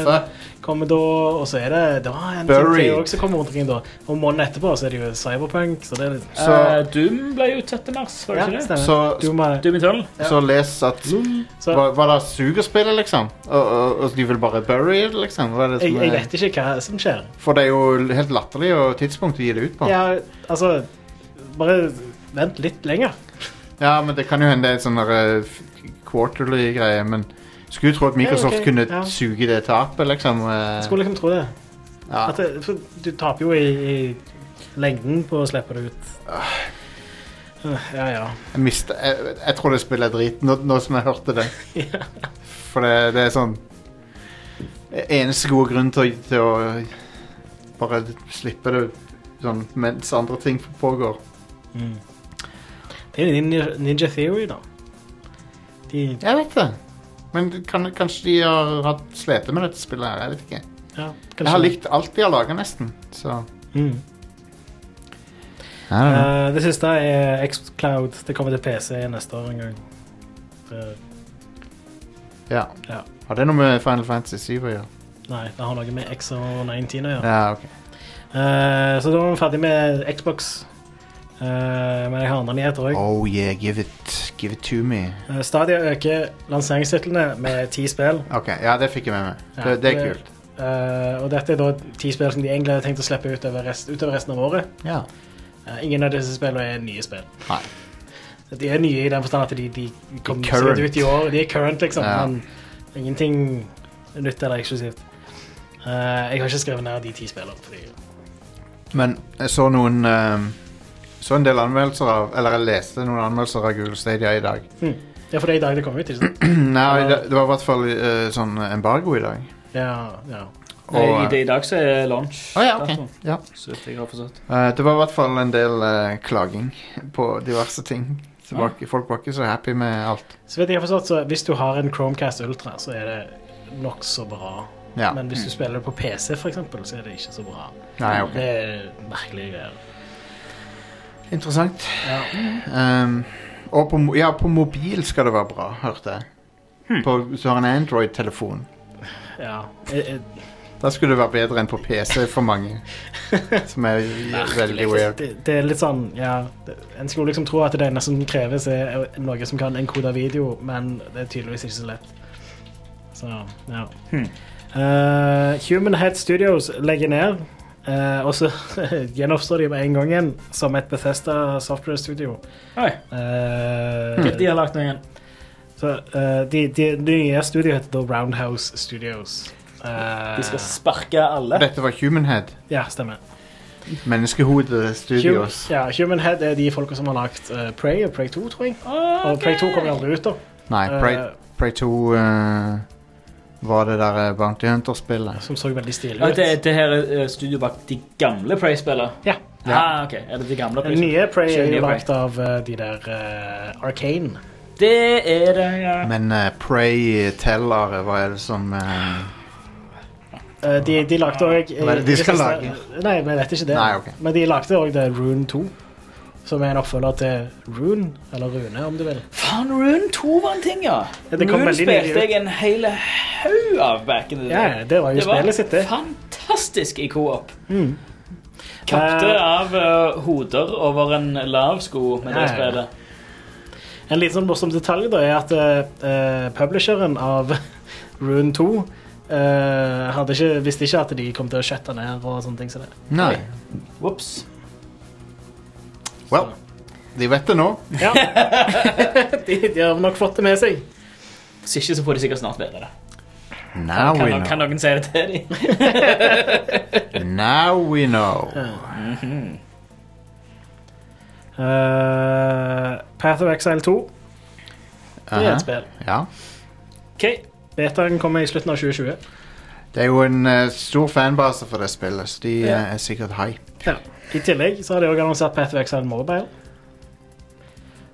fuck.
kommer da, og så er det da en ting
Buried.
til også som kommer rundt omkring da. Og måneden etterpå så er det jo Cyberpunk, så det er litt
Så,
Eh, Doom ble jo utsatt til mars, var det
Ja,
ikke det?
stemmer.
så,
Du må,
Doom Eternal.
så les at
Mm. så,
Hva, hva da, suger spillet, liksom? Og, og, og de vil bare bury it, liksom? Hva er det
jeg,
som
jeg
er?
vet ikke hva som skjer.
For det er jo helt latterlig å tidspunkt å gi det ut på.
Ja, altså Bare vent litt lenger.
Ja, men det kan jo hende det er en sånn der, eh, f- quarterly greie, men skulle jo tro at Microsoft
Ja, ok,
kunne
ja.
suge det tapet, liksom. eh,
Jeg skulle liksom tro det.
ja.
At det, for du taper jo i, i lengden på å slippe det ut.
Ah.
Ja, ja.
jeg, mista- jeg, jeg tror det spillet er drit, nå, nå som jeg hørte det.
[LAUGHS]
For det, det er sånn Eneste gode grunn til, å- til å bare slippe det sånn mens andre ting pågår.
Det er Ninja, Ninja Theory, da. De,
Jeg vet det. Men kan, kanskje de har hatt slete med dette spillet her. Jeg vet ikke.
ja,
Jeg har likt alt de har laga, nesten. Så
Mm. Eh, det siste er Xcloud. Det kommer til PC neste år en gang. Det,
Ja.
ja.
Har det noe med Final Fantasy 7 å gjøre?
nei, det har noe med X og 19 å gjøre.
Ja, ok.
Eh, så da var vi ferdig med Xbox. Eh, men jeg har andre nyheter òg.
Oh yeah, give it, give it to me.
Stadia øker lanseringstitlene med ti spill.
Ok, Ja, det fikk jeg med meg.
Ja,
Det, det er
det-
kult.
Eh, og dette er da ti spill som de egentlig hadde tenkt å slippe utover, rest, utover resten av året.
Ja.
Eh, ingen av disse spillene er nye spill.
Nei.
De er nye i den forstand at de, de kom
De er current.
sikkert ut i år. De er current, liksom.
Ja.
Men ingenting nytt eller eksklusivt. Eh, jeg har ikke skrevet ned de ti spillene. Fordi,
Men jeg så noen ehm, Så en del anmeldelser av Eller jeg leste noen anmeldelser av Google Stadia i dag. [CLEARS THROAT]
hm. Det er fordi i dag det kom ut, ikke sant?
Nei, det, det var i hvert fall eh, sånn embargo i dag.
Ja, ja.
Og,
Nei, Eh, I, det, I dag så er launch.
Å ja,
dato,
ok. Ja.
Så vidt jeg har forstått.
Eh, det var i hvert fall en del eh, klaging på diverse ting. Så var, ikke- Folk var ikke så happy med alt.
Så vet jeg jeg har forstått, så hvis du har en Chromecast Ultra, så er det nokså bra.
Ja.
Men hvis du spiller det på PC, for eksempel, så er det ikke så bra.
Nei, ok.
Det er merkelige greier.
Interessant.
Ja.
Ehm, og på, mo- ja, på mobil skal det være bra, hørte jeg.
Hm.
På, hvis du har en Android-telefon.
Ja. Jeg, jeg,
Da skulle det være bedre enn på PC for
[LAUGHS]
mange. Som er veldig weird.
Det, det er litt sånn, ja det- En skulle liksom tro at det ene som kreves, er noe som kan enkode video, men det er tydeligvis ikke så lett. Så, ja.
Hmm.
Eh, Human Head Studios legger ned, eh, og så [LAUGHS] gjenoppstår de med en gang igjen som et Bethesda Software Studio.
Oi,
Eh,
Mm. de har lagt noe igjen.
så, eh, de, de, det nye studioet heter da Roundhouse Studios. Eh,
De skal sparke alle.
Dette var Humanhead.
ja, stemmer.
Menneskehode Studios.
Hum- ja, Human Head er de folka som har lagt eh, Prey og Prey 2, tror jeg. Og Prey 2 kommer aldri ut, da.
Nei, Prey,
Eh,
Prey 2 eh, var det der eh, Bounty Hunter-spillet.
Som så veldig stilig
Ja,
ut.
det, det her er eh, studio bak de gamle Prey-spillene.
Ja.
Ah, ok. Er det de gamle
Den
Prey?
nye Prey er
Ikke nye
jo
Prey.
lagt av eh, de der uh, Arcane.
Det er det, ja.
Men eh, Prey teller hva er det som eh,
Eh, de, de lagde òg
Hva er det de skal lage?
Nei, vi vet ikke det.
Nei, ok.
Men de lagde òg det Rune 2, som er en oppfølger til Rune, eller Rune, om du vil.
Faen, Rune 2 var en ting, ja.
Ja, det kom
Rune
veldig nylig ut.
spilte jeg en hel haug av back in the
Ja,
day.
det var jo spillet sitt, det.
fantastisk i co-op.
Mm.
Kapte
Eh,
av eh, hoder over en lav sko med
Ja, ja,
det
ja.
spillet.
En litt sånn morsom detalj da, er at eh, eh, publisheren av [LAUGHS] Rune 2 eh, hadde ikke, visste ikke at de kom til å shutte ned og sånne ting som det. [LAUGHS]
Nei.
Whoops.
Well, de vet det nå.
Ja. de, de har nok fått det med seg.
Hvis ikke, så får de sikkert snart vite det.
Now
Kan,
we
noen, kan
know.
noen si det til dem?
Now we know.
Eh, Path of Exile 2 det er
Aha.
et spill.
Uh-huh. Ja.
Ok, Betaen kommer i slutten av 2020.
Det er jo en eh, stor fanbase for det spillet, så de
Ja.
eh, er sikkert hype.
Ja. I tillegg så har de også annonsert Path of Exile Mobile.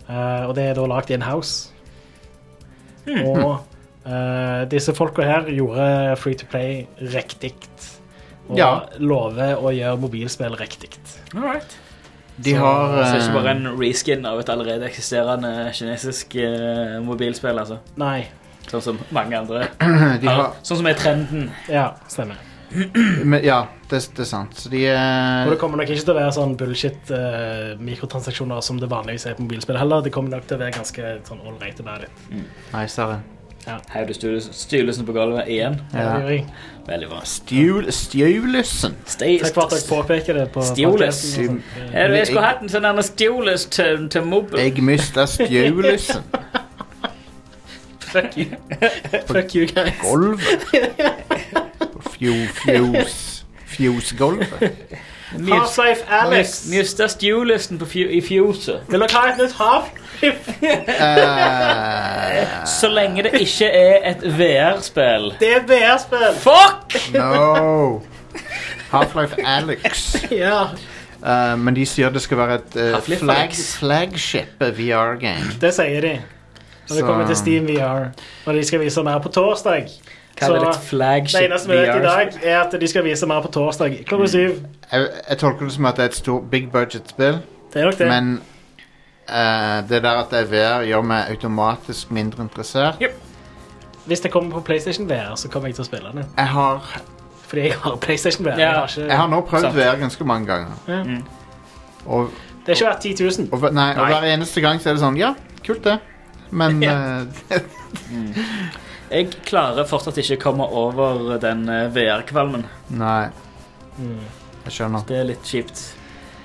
Eh, og det er da lagd in-house. Og eh, disse folka her gjorde Free to Play riktig. Og
Ja.
lover å gjøre mobilspill riktig.
De har
Så det er
eh,
ikke bare en reskin av et allerede eksisterende kinesisk eh, mobilspill, altså.
Nei.
Sånn som mange andre.
eh, de har,
Sånn som er trenden.
Ja, stemmer.
men, Ja, det, det er sant. Så de eh,
Og det kommer nok ikke til å være sånn bullshit eh, mikrotransaksjoner som det vanligvis er på mobilspill heller. Det kommer nok til å være ganske sånn all right about it.
Nice.
Her er du styrelsen på gulvet igjen.
Ja.
Ja.
Veldig bra.
Stjul, stjulesen.
Stay,
Takk for at dere påpeker det. på
Stjoles.
podcasten og sånn. sånt.
Er du jeg skulle hatt en sånn Anders Stjoles til, til mobbel?
Jeg mista
[LAUGHS]
stjulesen.
Fuck you.
[LAUGHS] Fuck you guys.
Gulvet. Fjo, fjos Fjosgulvet.
Mjus-
Half-Life Alex.
Mjusta Stjolesen på fju- i fjoset.
Vil dere ha et nytt Half-Life? [LAUGHS]
Eh,
[LAUGHS] Så lenge det ikke er et VR-spill.
Det er et VR-spill.
Fuck!
no. Half-Life Alex.
Ja.
Eh, men de sier det skal være et eh,
Half-Life
flag,
Alex.
flagship VR-game.
Det sier de. Når det
Så-
kommer til Steam VR. Og de skal vise mer på torsdag.
Hva er
Så-
det et flagship
Det eneste vi vet i
VR-spill?
dag, er at de skal vise mer på torsdag klokka syv.
Jeg, jeg tolker det som at det er et stort big budget-spill,
Det er nok det.
men eh, det der at det er VR, gjør meg automatisk mindre interessert.
Hvis det kommer på PlayStation VR, så kommer jeg til å spille det.
Jeg har,
Fordi jeg har PlayStation VR.
Ja.
Jeg har
jeg
ikke,
har nå prøvd
Sant.
VR ganske mange ganger.
Ja.
Og,
det er ikke verdt 10 000.
og, hver- nei, og
Mm.
hver
Nei.
eneste gang så er det sånn Ja, kult, det.
[LAUGHS]
Men eh, [LAUGHS]
Jeg klarer fortsatt ikke å komme over den eh, VR-kvalmen.
Nei. Jeg skjønner.
Det er litt kjipt.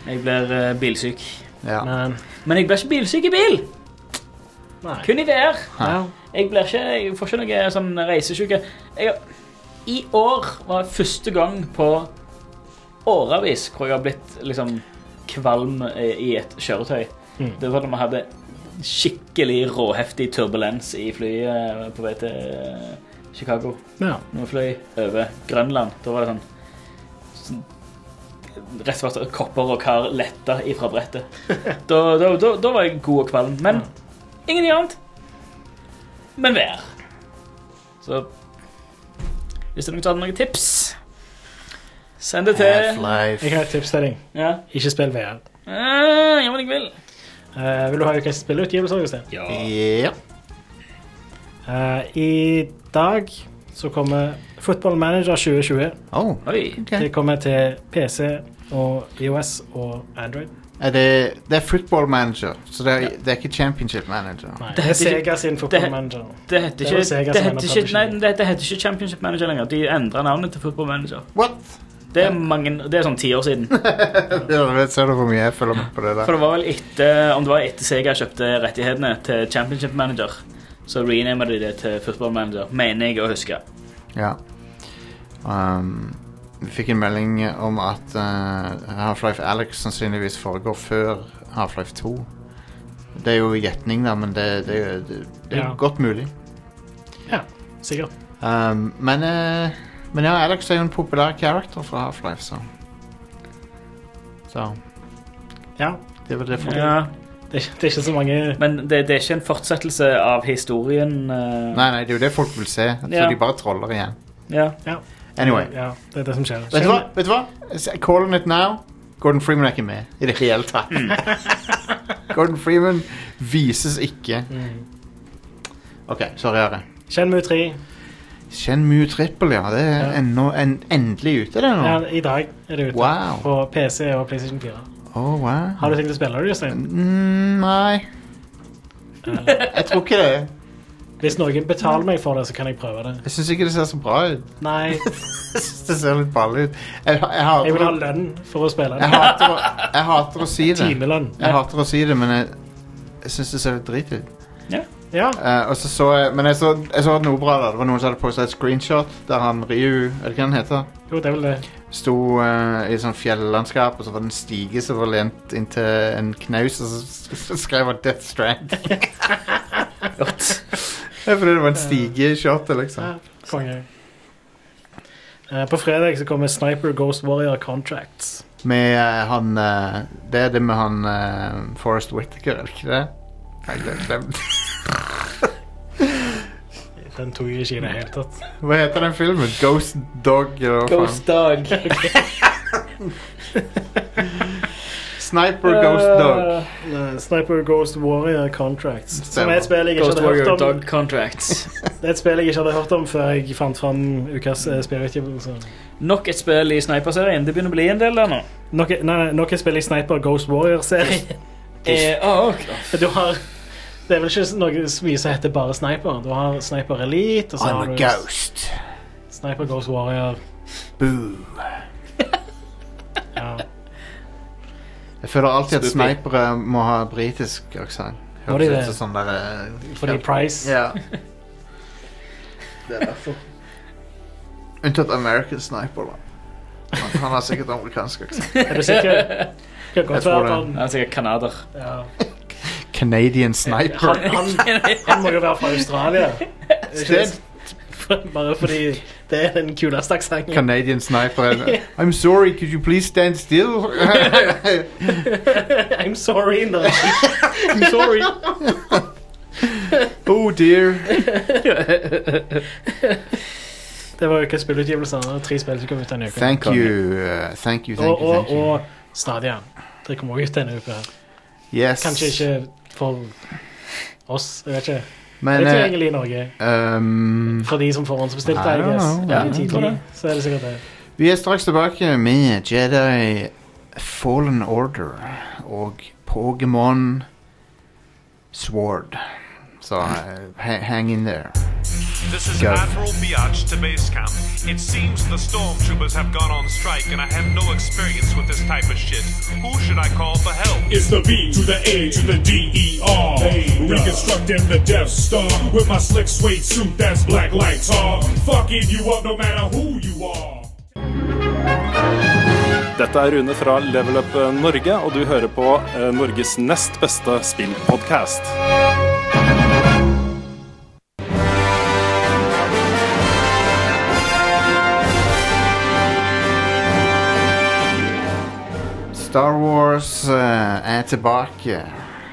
Jeg blir eh, bilsyk.
Ja.
Men
Men jeg blir ikke bilsyk i bil!
nei.
Kun i VR.
Ja.
Jeg, blir ikke, jeg får ikke noe sånn reisesyke. Jeg, I år var første gang på årevis hvor jeg har blitt liksom kvalm eh, i et kjøretøy.
Mm.
Det var da vi hadde skikkelig råheftig turbulens i flyet eh, på vei til eh, Chicago.
Ja.
Når vi fløy over Grønland, da var det sånn sånn- Rett og slett kopper og kar letta ifra brettet. [LAUGHS] Da, da, da, da var jeg god og kvalm. Men ingenting annet. Men vær. Så Hvis det er noen som hadde noen tips, send det til
Half-Life.
Jeg har et tips til deg.
Ja,
Ikke spill VR.
ah, ja men jeg vil.
Eh, vil du ha ukas spilleutgivelse? Augustin?
Ja.
Ja.
Eh, I dag så kommer Football Manager 2020.
Oh,
Oi.
ok.
Det kommer til PC og EOS og Android.
Er det, det er football manager, så det er, det er ikke championship manager.
Nei,
Det
det er
heter ikke-
Sega sin Football
det-
Manager.
Det heter
Det var
ikke,
Sega
det
som
heter
endret
ikke, nei,
publishing.
det det heter ikke Championship Manager lenger. De endra navnet til Football Manager.
What? [LAUGHS]
Det er, mange, det er sånn ti år siden.
Ja, du vet, ser du hvor mye jeg følger med på det der?
For det var vel etter, om det var etter Sega kjøpte rettighetene til Championship Manager, så renama de det til Football Manager, mener jeg å huske.
Ja. Um, vi fikk en melding om at eh, Half-Life Alex sannsynligvis foregår før Half-Life 2. Det er jo gjetning, da, men det, det, er jo- det, det er jo
Ja.
godt mulig.
Ja, sikkert.
Um, men, eh, men ja, Alex er jo en populær character fra Half-Life, så Så
Ja,
det var det for
Ja,
det er, ikke- det er ikke så mange
men det, det er ikke en fortsettelse av historien.
Nei,
eh,
nei, det er jo det folk vil se. Jeg tror
Ja.
de bare troller igjen.
Ja.
Ja.
Anyway.
Ja, det er det som skjer.
Vet du hva? Vet du hva? S- Calling it now. Gordon Freeman er ikke med i det hele tatt.
Mm.
[LAUGHS]
[LAUGHS]
Gordon Freeman vises ikke.
Mm.
OK, sorry, Are.
Shenmue 3
Shenmue Trippel, ja. Det er
Ja.
ennå- en, endelig ute, det
ja,
nå.
i dag er det ute.
Wow.
På PC og PlayStation 4.
Oh, wow.
Har du tenkt å spille det, Jostein?
Mm,
[LAUGHS]
nei. Jeg tror ikke det.
Hvis noen betaler meg for det, så kan jeg prøve det.
Jeg syns ikke det ser så bra ut. [LAUGHS]
Nei,
Jeg synes det ser litt balle ut. Jeg, ha- jeg,
jeg vil ha
hater, å-
lønn for å spille
jeg,
det.
hater, å, jeg hater å
[LAUGHS]
si det.
Timelønn.
Jeg hater å si det, men jeg, jeg syns det ser litt drit ut.
Ja.
Eh, og så så jeg, men jeg så, jeg så noe bra der. Det var noen som hadde postet et screenshot der han Ryu er det ikke han heter?
Jo, det er vel det.
Sto eh, i sånn fjellandskap, og så var det en stige som var lent inntil en knaus, og så, s- s- skrev han 'Death Strand'.
[LAUGHS]
Jeg trodde det var en stigeshot, liksom.
Ja, Konge. Eh, På fredag så kommer Sniper Ghost Warrior Contracts.
Med eh, han eh, Det er det med han eh, Forrest Whittaker, er det ikke det? Nei, det- det- [LAUGHS]
Den tok jeg ikke i det hele tatt.
Hva heter den filmen? Ghost Dog? Eller hva faen?
Ghost Dog.
Sniper Ghost Dog. [LAUGHS]
Eh, Sniper Ghost Warrior Contracts. Som
Stemmer.
er et spill jeg ikke
Ghost
hadde hørt
Warrior
om
Dog Contracts.
Det er et spill jeg ikke hadde hørt om før jeg fant fram ukas eh, spillutgivelse.
Nok et spill i Sniper-serien. Det begynner å bli en del der nå.
Nok nei, nei, nok et spill i Sniper Ghost Warrior-serien.
Eh, å, ok.
Du har Det er vel ikke noe så mye som heter bare Sniper. Du har Sniper Elite, og så
I'm
har
a
du
ghost.
Sniper Ghost Warrior.
Boo.
Ja.
Jeg føler alltid at
Spoopy.
snipere må ha britisk aksent.
Må de det?
Sånn der, eh,
Fordi Price [LAUGHS]
Ja. Det er derfor. Unntatt American Sniper, da. Han, han har sikkert amerikansk
[LAUGHS]
aksent.
Er du sikker? Kan godt
Jeg tror
være at
det.
han-
Han er sikkert canadier.
ja.
Canadian Sniper.
Han, han, han må jo være fra Australia.
Sted.
Bare fordi det er den kuleste aksenten.
Canadian
[LAUGHS]
Sniper. I'm sorry, could you please stand [LAUGHS] still?
[LAUGHS] I'm sorry.
[LAUGHS]
No. I'm sorry.
oh dear.
Det var jo ikke spillutgivelser. Det var tre spill som kom ut denne uka.
Thank you. uh, thank you, thank
og,
you,
og,
thank you.
og Stadia. Det kommer også ut denne uka. her.
Yes.
Kanskje ikke for oss. Jeg vet ikke. Det
Men
er
eh,
tilgjengelig i Norge.
um,
For de som forhåndsbestilte,
I
I
don't
guess.
know.
Ja,
Ja,
tidlig, så er det sikkert det.
Vi er straks tilbake med Jedi Fallen Order og Pokémon Sword. Så eh, ha hang in there.
This is
Go.
Admiral Biatch to base camp. It seems the stormtroopers have gone on strike, and I have no experience with this type of shit. Who should I call for help?
It's the B to the A to the D E R. Reconstructing the Death Star with my slick suede suit that's black like tar. Fucking you up no matter who you are.
Dette er Rune fra Level Up eh, Norge, og du hører på eh, Norges nest beste spillpodkast.
Star Wars eh, er tilbake,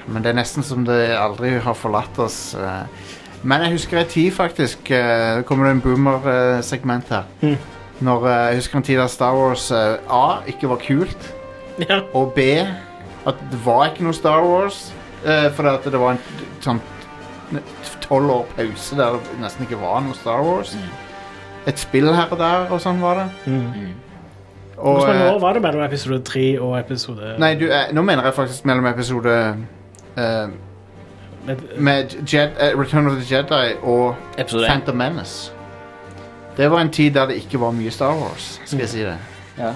men det er nesten som det aldri har forlatt oss. eh. men jeg husker en tid, faktisk. eh, Det kommer det en boomer-segment her. Når, eh, jeg husker en tid da Star Wars eh, A ikke var kult,
Ja.
og B at det var ikke noe Star Wars. Uh, fordi at det var en t- sånn tolv år pause der det nesten ikke var noe Star Wars. Et spill her og der, og sånn var det. Og,
Hvor mange
eh,
år var det mellom episode 3 og episode
Nei, du, eh, nå mener jeg faktisk mellom episode eh, Med Jed, eh, Return of the Jedi og
Episode én.
Phantom Menace. Det var en tid der det ikke var mye Star Wars, skal jeg si det.
Ja.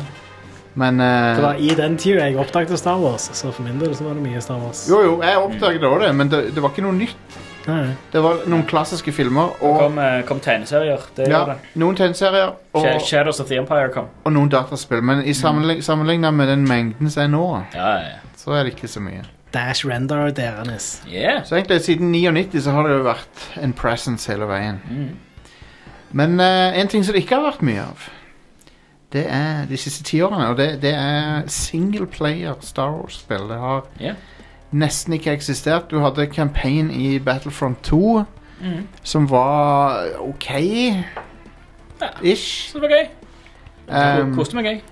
Men eh,
Det var i den tida jeg oppdaget Star Wars, så for min del så var det mye Star Wars.
Jo, jo, jeg oppdaget også det, men det, det var ikke noe nytt.
Nei.
Det var noen klassiske filmer og
Kom, eh, kom tegneserier. Det
ja,
gjør det.
noen tegneserier
Sha-
og,
Shadows of the Empire kom.
og noen dataspill. Men i sammenlign, sammenligna med den mengden som er nå,
Ja, ja.
så er det ikke så mye.
Dash render deres.
Yeah.
Så egentlig siden 99 så har det jo vært en presence hele veien.
Mm.
Men eh, en ting som det ikke har vært mye av, det er de siste ti årene, og det, det er single player Star Wars-spill. Det har
Ja.
nesten ikke eksistert. Du hadde
Mhm.
campaign i Battlefront 2, som var ok. Ish.
Så det var gøy.
Um,
Koste meg, jeg.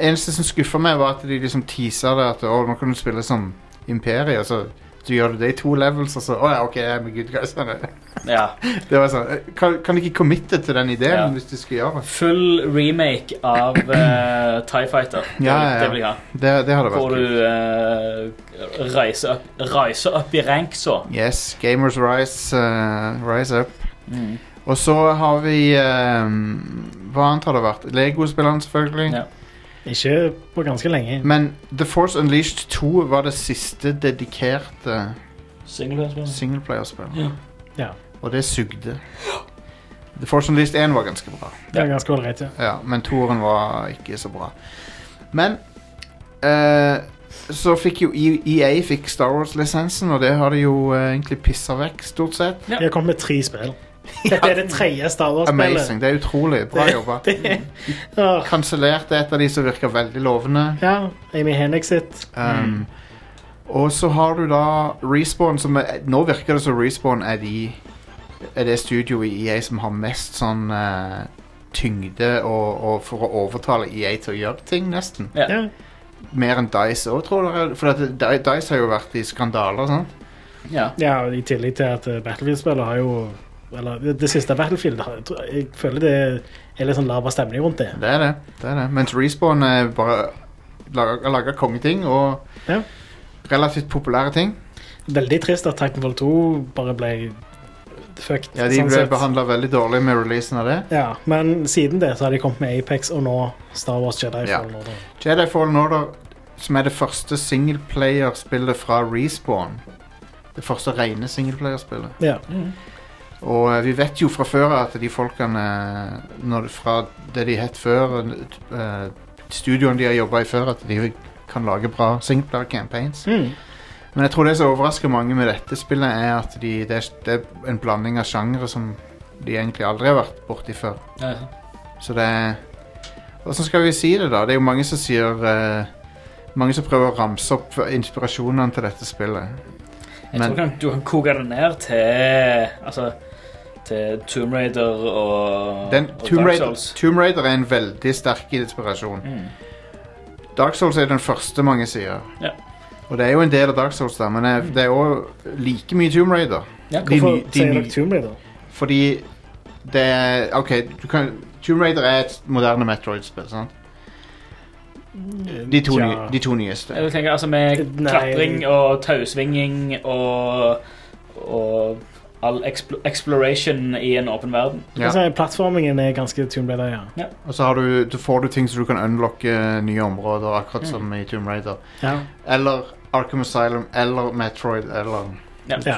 eneste som skuffa meg, var at de liksom teasa det at å, nå kan du spille som Imperie. Og så du gjør du det i to levels, og så Å ja, OK, I'm a good guy. Sånn.
Ja.
Det var sånn, eh, kan, kan du ikke committe til den ideen
Ja.
hvis du skal gjøre det?
Full remake av eh, TIE Fighter. Det,
Ja, ja, ja.
det vil jeg ha.
Det, det hadde
Hvor
vært kult.
du eh, reiser, opp, reiser opp i rank, så.
Yes, gamers rise, eh, rise up. Og så har vi eh, Hva annet har det vært? Lego-spilleren, selvfølgelig.
Ja.
Ikke på ganske lenge.
Men The Force Unleashed 2 var det siste dedikerte
Singleplayerspill.
singleplayerspillet.
Ja.
Ja.
Og det sugde. The Force Unleashed 1 var ganske bra,
Det er ganske ålreit, ja.
ja, men toeren var ikke så bra. Men eh, så fikk jo E- EA fikk Star Wars-lisensen, og det har de jo eh, egentlig pissa vekk, stort sett.
De har kommet med tre spill. Dette er [LAUGHS] det tredje Star Wars-spillet.
Amazing. Det er utrolig bra jobba.
[LAUGHS] Det- Åh.
Kansellerte et av de som virker veldig lovende.
Ja, Amy Hennig sitt.
Um,
Mm.
Og så har du da Respawn, som er, nå virker det som Respawn er, de, er det studioet i EA som har mest sånn eh, tyngde og, og for å overtale EA til å gjøre ting, nesten.
Ja.
Ja.
Mer enn Dice òg, tror dere? For at Di- Dice har jo vært i skandaler, sant?
Ja.
Ja, og I tillegg til at eh, Battlefield-spillet har jo eller det, det siste Battlefield har, jeg tror- Jeg føler det er litt sånn laber stemning rundt det.
Det er det. det, er det. Mens Respawn er bare lager, lager kongeting og
Ja.
relativt populære ting.
Veldig trist at Titanfall 2 bare ble fucked.
Ja, De
sånn
ble
sett.
behandla veldig dårlig med releasen av det.
Ja, men siden det så har de kommet med Apex og nå Star Wars Jedi
Ja.
Fallen Order.
Jedi Fallen Order, som er det første singleplayer-spillet fra Respawn. Det første rene singleplayer-spillet.
Ja.
Og eh, vi vet jo fra før at de folkene eh, når, Fra det de het før, eh, studioen de har jobba i før, at de kan lage bra singleplayer-campaigns.
Mm.
Men jeg tror det som overrasker mange med dette spillet, er at de, det, er, det er en blanding av sjangere som de egentlig aldri har vært borti før.
Ja.
Så det er Hvordan skal vi si det, da? Det er jo mange som sier eh, Mange som prøver å ramse opp inspirasjonene til dette spillet.
Jeg
Men-
tror kan, du kan koke det ned til Altså til Tomb Raider og,
Den,
og
Tomb,
Dark
Raider,
Souls.
Tomb Raider er en veldig sterk inspirasjon.
Mm.
Dark Souls er den første mange sier.
Ja. Mm.
Og det er jo en del av Dark Souls, da, men det er- det er òg like mye Tomb Raider.
Ja,
De
Hvorfor
ny- de
sier
ny-
dere Tomb Raider?
Fordi det er OK, du kan, Tomb Raider er et moderne Metroid-spill, sant? De to,
Tja.
ny, de to nyeste.
Jeg vil tenke, altså Med
Nei.
klatring og tausvinging og, og all expl exploration i en åpen verden.
Ja.
Altså, plattformingen er ganske Tomb Raider, ja.
Og så har du, du får du ting så du kan unlocke nye områder,
Mm.
akkurat som i Tomb Raider.
ja.
Eller Arkham Asylum, eller Metroid, eller
Ja.
Ja.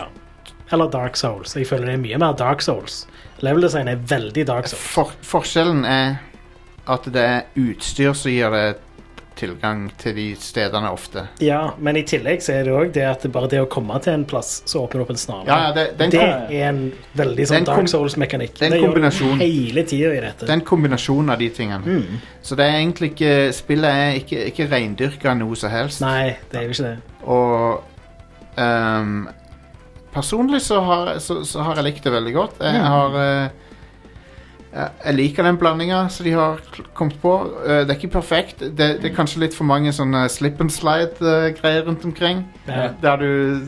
Eller Dark Souls. Jeg føler det er mye mer Dark Souls. Level design er veldig Dark Souls.
For, Forskjellen er at det er utstyr som gir deg tilgang til de stedene ofte.
Ja, men i tillegg så er det òg det at det bare det å komme til en plass som åpner opp en snarvei,
Ja, ja, det, den,
det
kom,
er en veldig
Den
sånn
kom-
Dark Souls-mekanikk.
den
Det gjør du
kombinasjonen-
hele tida i dette.
den kombinasjonen av de tingene.
Mm.
Så det er egentlig ikke Spillet er ikke, ikke reindyrka noe som helst.
Nei, det er jo ikke det.
Og ehm, Personlig så har, så, så har jeg likt det veldig godt. Jeg,
Mm.
har eh, jeg- Jeg liker den blandinga som de har kl- kommet på. Eh, det er ikke perfekt. Det, det er kanskje litt for mange sånne slip and slide-greier rundt omkring.
Ja.
Der du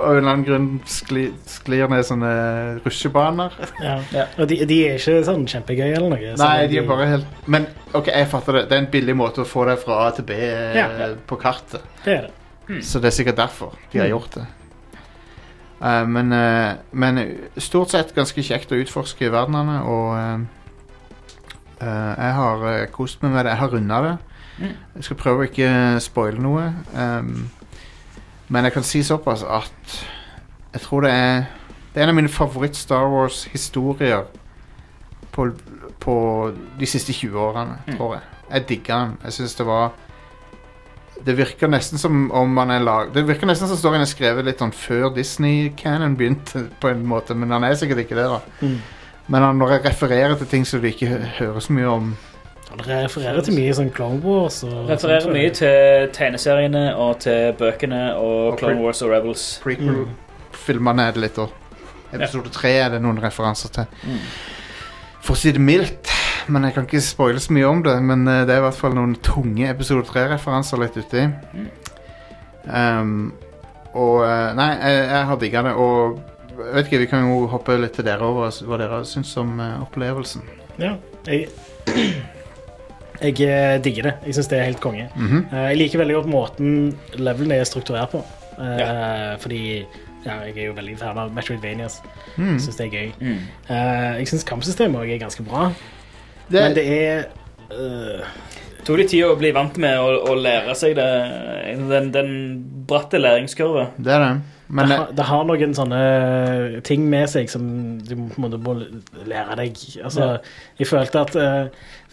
av en eller annen grunn skli, sklir ned sånne rusjebaner.
Ja.
Ja.
Og de, de er ikke sånn kjempegøye eller noe. så
Nei, de er bare helt Men OK, jeg fatter det. Det er en billig måte å få deg fra A til B eh,
Ja.
på kartet.
Det er det.
Så det er sikkert derfor de har gjort det. Eh, men, eh, men stort sett ganske kjekt å utforske verdenene, og eh, eh, jeg har eh, kost meg med det. Jeg har runda det. Jeg skal prøve å ikke spoile noe. ehm, men jeg kan si såpass at jeg tror det er Det er en av mine favoritt-Star Wars-historier på, på de siste 20 årene, tror jeg. Jeg digger den. Jeg syns det var det virker nesten som om man er lag... Det virker nesten som storyen er skrevet litt sånn før Disney-canon begynte, [LAUGHS] på en måte, men han er sikkert ikke det, da.
Mm.
Men han, når jeg refererer til ting som du ikke hø- hører så mye om
Og det refererer til mye sånn Clone Wars og
Refererer mye til tegneseriene og til bøkene og
Og
Clone
pre-
Wars og Rebels.
prequel-filmene er det litt òg. Episode tre er det noen referanser til. For å si det mildt, men jeg kan ikke spoile så mye om det. Men eh, det er i hvert fall noen tunge episode 3-referanser litt uti. Um, og eh, Nei, jeg, jeg har digga det. Og jeg vet ikke, vi kan jo hoppe litt til dere over s- hva dere syns om eh, opplevelsen.
Ja, jeg, jeg eh, digger det. Jeg syns det er helt konge.
Mhm.
Eh, Jeg liker veldig godt måten levelen er strukturert på. Eh, Fordi ja, jeg er jo veldig fan av Metroidvanias.
Mhm.
Jeg Syns det er gøy.
Mm.
Eh, jeg syns kampsystemet òg er ganske bra,
Det,
men det er eh,
Tok litt tid å bli vant med å, å lære seg det, den, den bratte læringskurven.
det er det. Men eh,
det,
det,
har, det har noen sånne ting med seg som du på en måte må lære deg. Altså, Jeg følte at eh,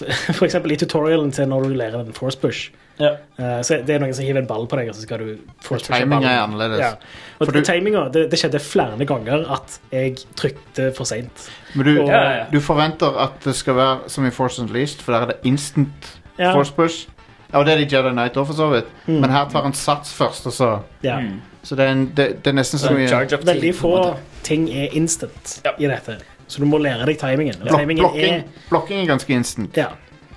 [LAUGHS] For eksempel i tutorialen til når du lærer den force push,
Ja.
Eh, Så det er noen som hiver en ball på deg, og så skal du force pushe
Timing er
ballen.
annerledes.
Ja. Og
For du-
timinga, det, det skjedde flere ganger at jeg trykte for seint.
men du,
og-
Ja, ja, ja.
du forventer at det skal være som i Force Unleashed, for der er det instant
Ja.
force push. Ja, og det er det i Jedi Knight òg, for så vidt.
Mm.
Men her tar han sats først, og så
Ja.
Så det er, en, det, det er nesten som i
Charge up
Veldig
tid, på
få
en måte.
ting er instant
Ja.
i dette, så du må lære deg timingen. Og
blok,
timingen
blokking,
er
blokking er ganske instant.
Ja,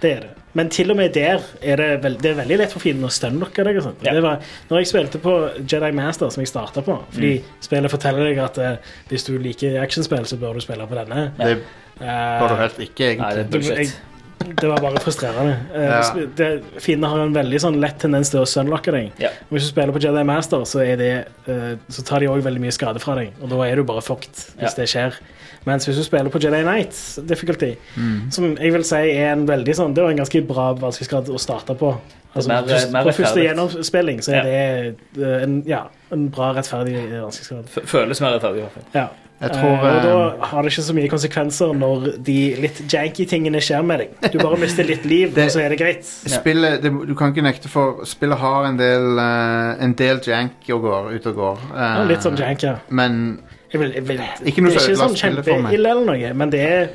det er det. Men til og med der er det, vel- det er veldig lett for fienden å stunlocke deg. og sånt.
Ja.
Det var, når jeg spilte på Jedi Master, som jeg starta på
Mm.
Fordi spillet forteller deg at eh, hvis du liker actionspill, så bør du spille på denne.
Det
Eh,
bør du helt ikke,
Nei, det
egentlig.
er
Det-
bullshit.
Jeg, det var bare frustrerende. Eh,
Ja.
sp- det- Fiender har en veldig sånn lett tendens til å sunlocke deg.
Ja.
Og Hvis du spiller på Jedi Master, så, er det, eh, så tar de òg veldig mye skade fra deg. Og da er du bare fucked hvis
Ja.
det skjer. Mens hvis du spiller på Jedi Knights difficulty,
Mm.
som jeg vil si er en veldig sånn Det var en ganske bra vanskelighetsgrad å starte på. Altså,
mer- eh,
først-
mer
på første
rettferdig.
gjennomspilling så
Ja.
er det eh, en, ja, en bra, rettferdig eh, vanskelighetsgrad.
F- Føles mer rettferdig. i hvert fall.
Ja.
Jeg tror,
Eh, og
eh,
da har det ikke så mye konsekvenser når de litt janky tingene skjer med deg. Du bare mister litt liv,
Det-
og så er det greit.
eh, Spillet, det, du kan ikke nekte for Spillet har en del eh, En del jank og går, ut og går
Ja,
Eh,
litt sånn jank, ja.
Men
Jeg vil, jeg vil,
Ikke noe
det
som
er ikke sånn
ødela spillet for meg.
kjempeille eller noe, men det er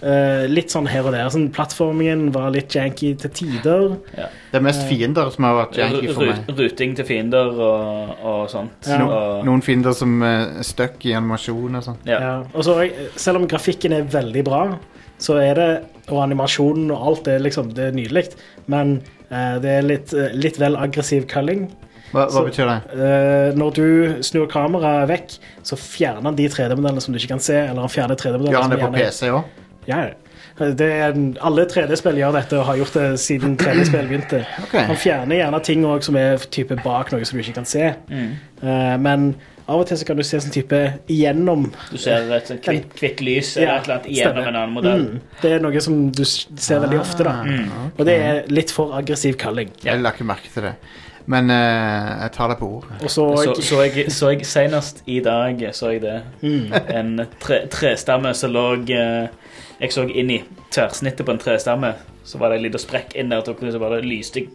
eh, litt sånn her og der. Sånn, plattformingen var litt janky til tider.
det er
Eh.
mest fiender som har vært janky for
Ru-
meg
Ruting til fiender og, og sånt.
Ja.
Og,
Noen fiender som eh, er støkk i animasjon og sånn
ja.
Ja. Og så, eh, selv om grafikken er veldig bra, så er det, og animasjonen og alt, det er, liksom, det er nydelig, men eh, det er litt, eh, litt vel aggressiv culling.
Hva, hva
Så-
betyr det?
Eh, når du snur kameraet vekk, så fjerner han de 3D-modellene som du ikke kan se. Eller han fjerner 3D-modellene
Gjør han
som
det på
gjerne-
PC også?
Ja, ja. Det er, alle 3D-spill gjør dette og har gjort det siden 3D-spill begynte.
Ok.
Han fjerner gjerne ting også, som er type bak noe som du ikke kan se. Eh, men av og til så kan du se sånn type igjennom.
Du ser et sånt kvitt, kvitt lys eller
Ja,
et eller annet gjennom
stemmer.
en annen modell.
Mm. Det er noe som du s- ser veldig ofte, da. Mm. Og det
Mm.
er litt for aggressiv kalling.
Ah, Jeg la ikke merke til det Men eh, jeg tar det på ord
Og så,
Så, så, jeg, så jeg senest i dag så jeg det. En tre, trestamme som lå eh, Jeg så inn i tverrsnittet på en trestamme. Så var det en liten sprekk inn der, og så bare lyste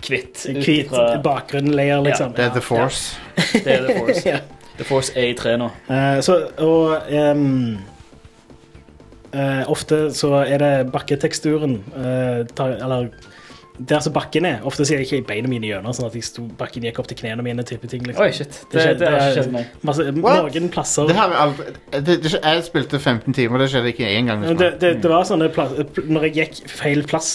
kvitt. ut
hvit
ifra-
bakgrunnlayer, liksom.
Det er The Force
Det er The Force.
Ja.
The Force er i tre nå.
Eh, så, og ehm, eh, ofte så er det bakketeksturen eh, tar, Eller der som bakken er. Ofte så er jeg ikke i beina mine gjennom, sånn at jeg sto, bakken gikk opp til knærne mine. type ting liksom.
Oi, shit. Det, det, har ikke skjedd meg.
masse,
What?
Noen plasser
Det her er aldri det, det, Jeg spilte 15 timer, det skjedde ikke en gang hos
Men det,
meg
det, det var sånne plass, pl- Når jeg gikk feil plass,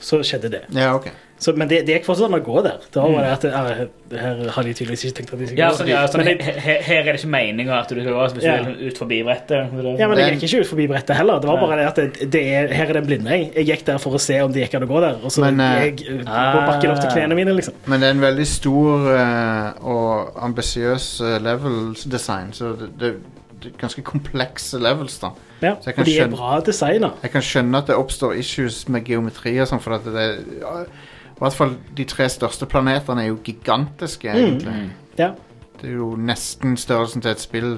så skjedde det.
Ja, ok
Så, men det, det gikk fortsatt an å gå der. Da var det at eh, Her har de tydeligvis ikke tenkt at de skulle
Ja,
gå.
sånn, ja, sånn,
Men jeg-
he- he- her er det ikke meninga at du skal gå hvis du
Ja.
vil ut forbi
Ja,
brettet.
men jeg
Men-
gikk ikke ut forbi brettet heller. Det var bare det at det, det er, her er det en blindvei. Jeg gikk der for å se om det gikk an å gå der. Og så
Men, eh,
jeg eh, går bakken opp til knærne mine, liksom.
Men det er en veldig stor eh, og ambisiøs eh, levels design, så det, det, det er ganske komplekse levels, da.
Ja,
Så jeg kan
og de er
skjønne-
bra designa.
Jeg kan skjønne at det oppstår issues med geometri og sånn, for at det er ja, I hvert fall de tre største planetene er jo gigantiske, egentlig.
Ja.
Det er jo nesten størrelsen til et spill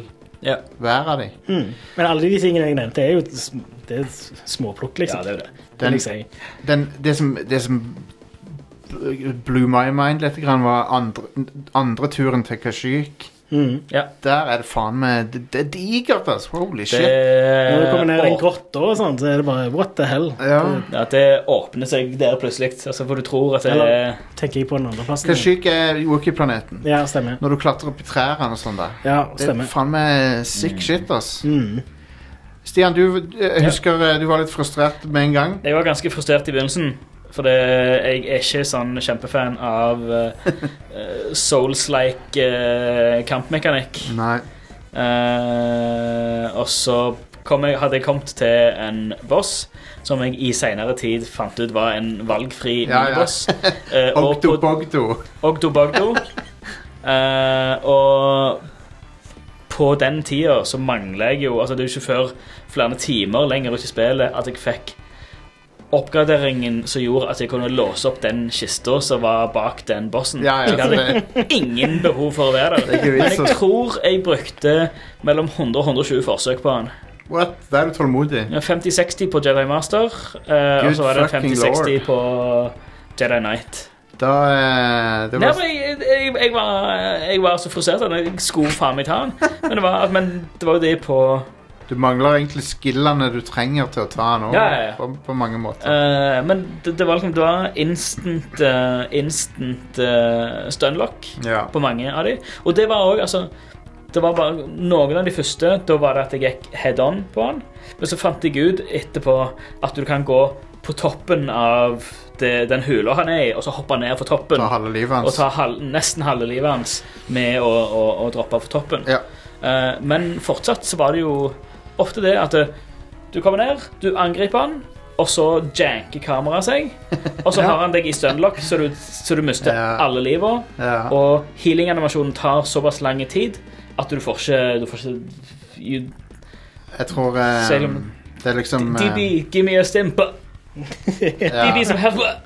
Ja.
hver av de.
Mm. Men alle de tingene jeg nevnte, er jo s- det er s- småplukk, liksom.
Ja, det er jo det.
vil
Den-
jeg si.
den, det som, det som blew my mind litt, grann var andre, andre turen til Kashyyyk.
Mm.
Ja.
Der er det faen meg Det, det er digert, altså. Holy shit.
Når du kommer
Eh,
ned i en
Det,
grotte og sånn, så er det bare what the hell.
Ja.
ja, det åpner seg der plutselig. Altså, for du tror at det
Eller-
er
Tenker jeg på den andre plassen.
Kashyyyk er Wookiee-planeten.
Ja, stemmer.
Når du klatrer opp i trærne og sånn der.
Ja,
Det er
stemmer.
faen meg sick shit, ass.
Mm.
Stian, du eh, husker eh, du var litt frustrert med en gang.
Jeg var ganske frustrert i begynnelsen. For det, jeg er ikke sånn kjempefan av
[LAUGHS]
eh, Souls-like eh, kampmekanikk.
Nei.
Eh, og så kom jeg, hadde jeg kommet til en boss som jeg i seinere tid fant ut var en valgfri
Ja, ja. [LAUGHS]
boss. Eh, og
Ogdo
på-
Bogdo.
Ogdo Bogdo. Eh, og på den tida så mangler jeg jo Altså Det er jo ikke før flere timer lenger ut i spillet at jeg fikk oppgraderingen som gjorde at jeg kunne låse opp den kista som var bak den bossen.
Ja, ja,
så jeg
så
hadde
det,
ingen behov for å være
det er
der.
ikke
Men
vits
jeg
å
tror jeg brukte mellom 100 og 120 forsøk på den.
What? Da er du tålmodig.
Ja, 50-60 på Jedi Master, eh, og
Good
så var det
fucking
50-60
lord.
på Jedi Knight.
Da eh, det
Nei,
var,
men jeg, jeg, jeg, var, jeg var så frustrert at jeg skulle faen meg ta den. Men det var, men det var jo det på
Du mangler egentlig skillene du trenger til å ta nå,
Ja, ja, ja.
På, på mange måter.
eh, Men det, det var liksom Det var instant, eh, instant eh, stunlock
ja.
på mange av de. Og det var òg altså, Det var bare noen av de første. Da var det at jeg gikk head on på den. Men så fant jeg ut etterpå at du kan gå på toppen av det, den hula han er i, og så hoppe ned fra toppen.
Ta halve livet
og
hans.
ta halv, nesten halve livet hans med å, å, å droppe av for toppen.
Ja.
Eh, men fortsatt så var det jo ofte det at eh, du kommer ned, du angriper han, og så janker kameraet seg.
[LAUGHS]
Og så har han deg i stunlock, så du, så du mister
Ja.
alle liva.
Ja.
Og healing-animasjonen tar såpass lang tid at du får ikke, du får ikke you,
Jeg tror eh,
Selv om-
det er liksom eh,
DB, give me a stimper.
ja.
DB som helvete.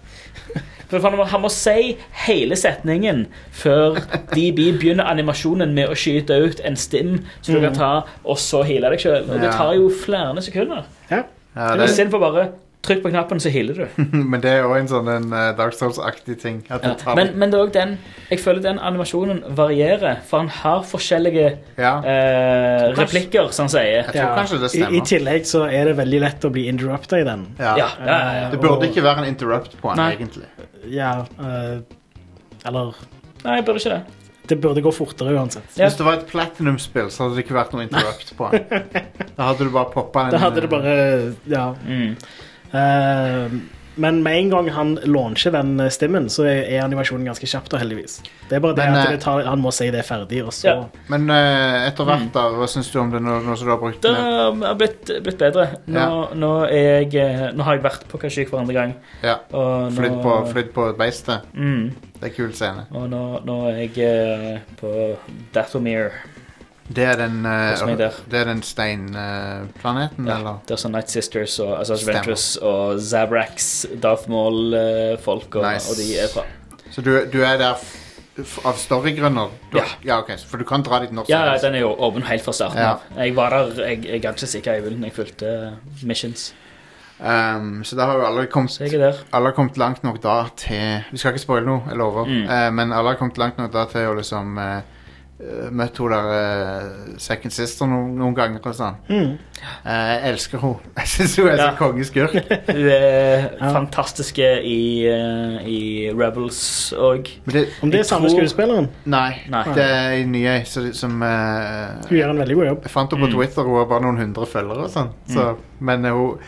For faen, Han må si hele setningen før DB begynner animasjonen med å skyte ut en stim som du kan ta, og så heale deg sjøl. Det
Mm. Ja.
tar jo flere sekunder.
Ja,
I
det,
stedet for bare trykk på knappen, så healer du.
[LAUGHS] men det er òg en sånn en, eh, Dark Souls-aktig ting. At det tar
Men, men det er også den, jeg føler den animasjonen varierer, for han har forskjellige
ja.
eh, replikker, som han sier.
Jeg tror kanskje det
I, I
stemmer.
tillegg så er det veldig lett å bli interrupta i den.
Ja.
Ja, ja, ja, ja.
Det burde ikke være en interrupt på han,
Nei.
egentlig.
Ja, eh, eller
Nei, jeg burde ikke det.
Det burde gå fortere uansett.
Ja.
Hvis det var et Platinum-spill, så hadde det ikke vært noe interrupt på
[LAUGHS]
han. Da hadde du bare poppa en
Da hadde det bare Ja.
Mm.
Eh, men med en gang han launcher den eh, stimmen, så er er animasjonen ganske kjapt og heldigvis. Det er bare det
Men,
at
eh,
det tar, han må si det er ferdig, og så
Ja.
Men eh, etter hvert, da, hva syns du om det nå, nå som du har brukt
Det
det?
har blitt, blitt bedre. Nå,
Ja.
nå, er jeg, eh, nå har jeg vært på Kashyyyk for andre gang.
Ja.
Og nå,
Flydd på, flydd på beistet?
Mm,
Det er kul scene.
og nå, nå er jeg eh, på Dathomir,
Det er den, eh,
Hos meg der.
det er den steinplaneten,
ja,
eller?
der som Night Sisters og altså,
Stemmer.
Adventurous og Zabrax, Darth Maul-folk, og,
Nice.
og de er fra.
Så du, du er der f f av storygrunner? Du-
Ja.
ja. ok, så- For du kan dra dit når som
Ja,
helst?
den er jo åpen helt fra starten
Ja.
av. Jeg var der, jeg, jeg er ikke sikker, Eivind. Jeg fulgte eh, missions.
Ehm, så da har jo alle kommet
Så jeg er der.
alle har kommet langt nok da til Vi skal ikke spoile noe, jeg lover.
Mm.
Eh, men alle har kommet langt nok da til å liksom eh, eh, Møtt hun der eh, second sister noen, noen ganger og sånn. Eh, jeg elsker henne. [LAUGHS] Jeg syns hun er
Mm. Ja.
så kongeskurk.
Hun er fantastiske i, eh, i Rebels òg.
Men det,
Om det er samme
tror-
skuespilleren?
nei,
Nei.
det er ei ny ei så det- som eh,
Hun gjør en veldig god jobb.
Jeg fant
Mm.
henne på Twitter, hun har bare noen hundre følgere og sånn. Så, men eh, hun,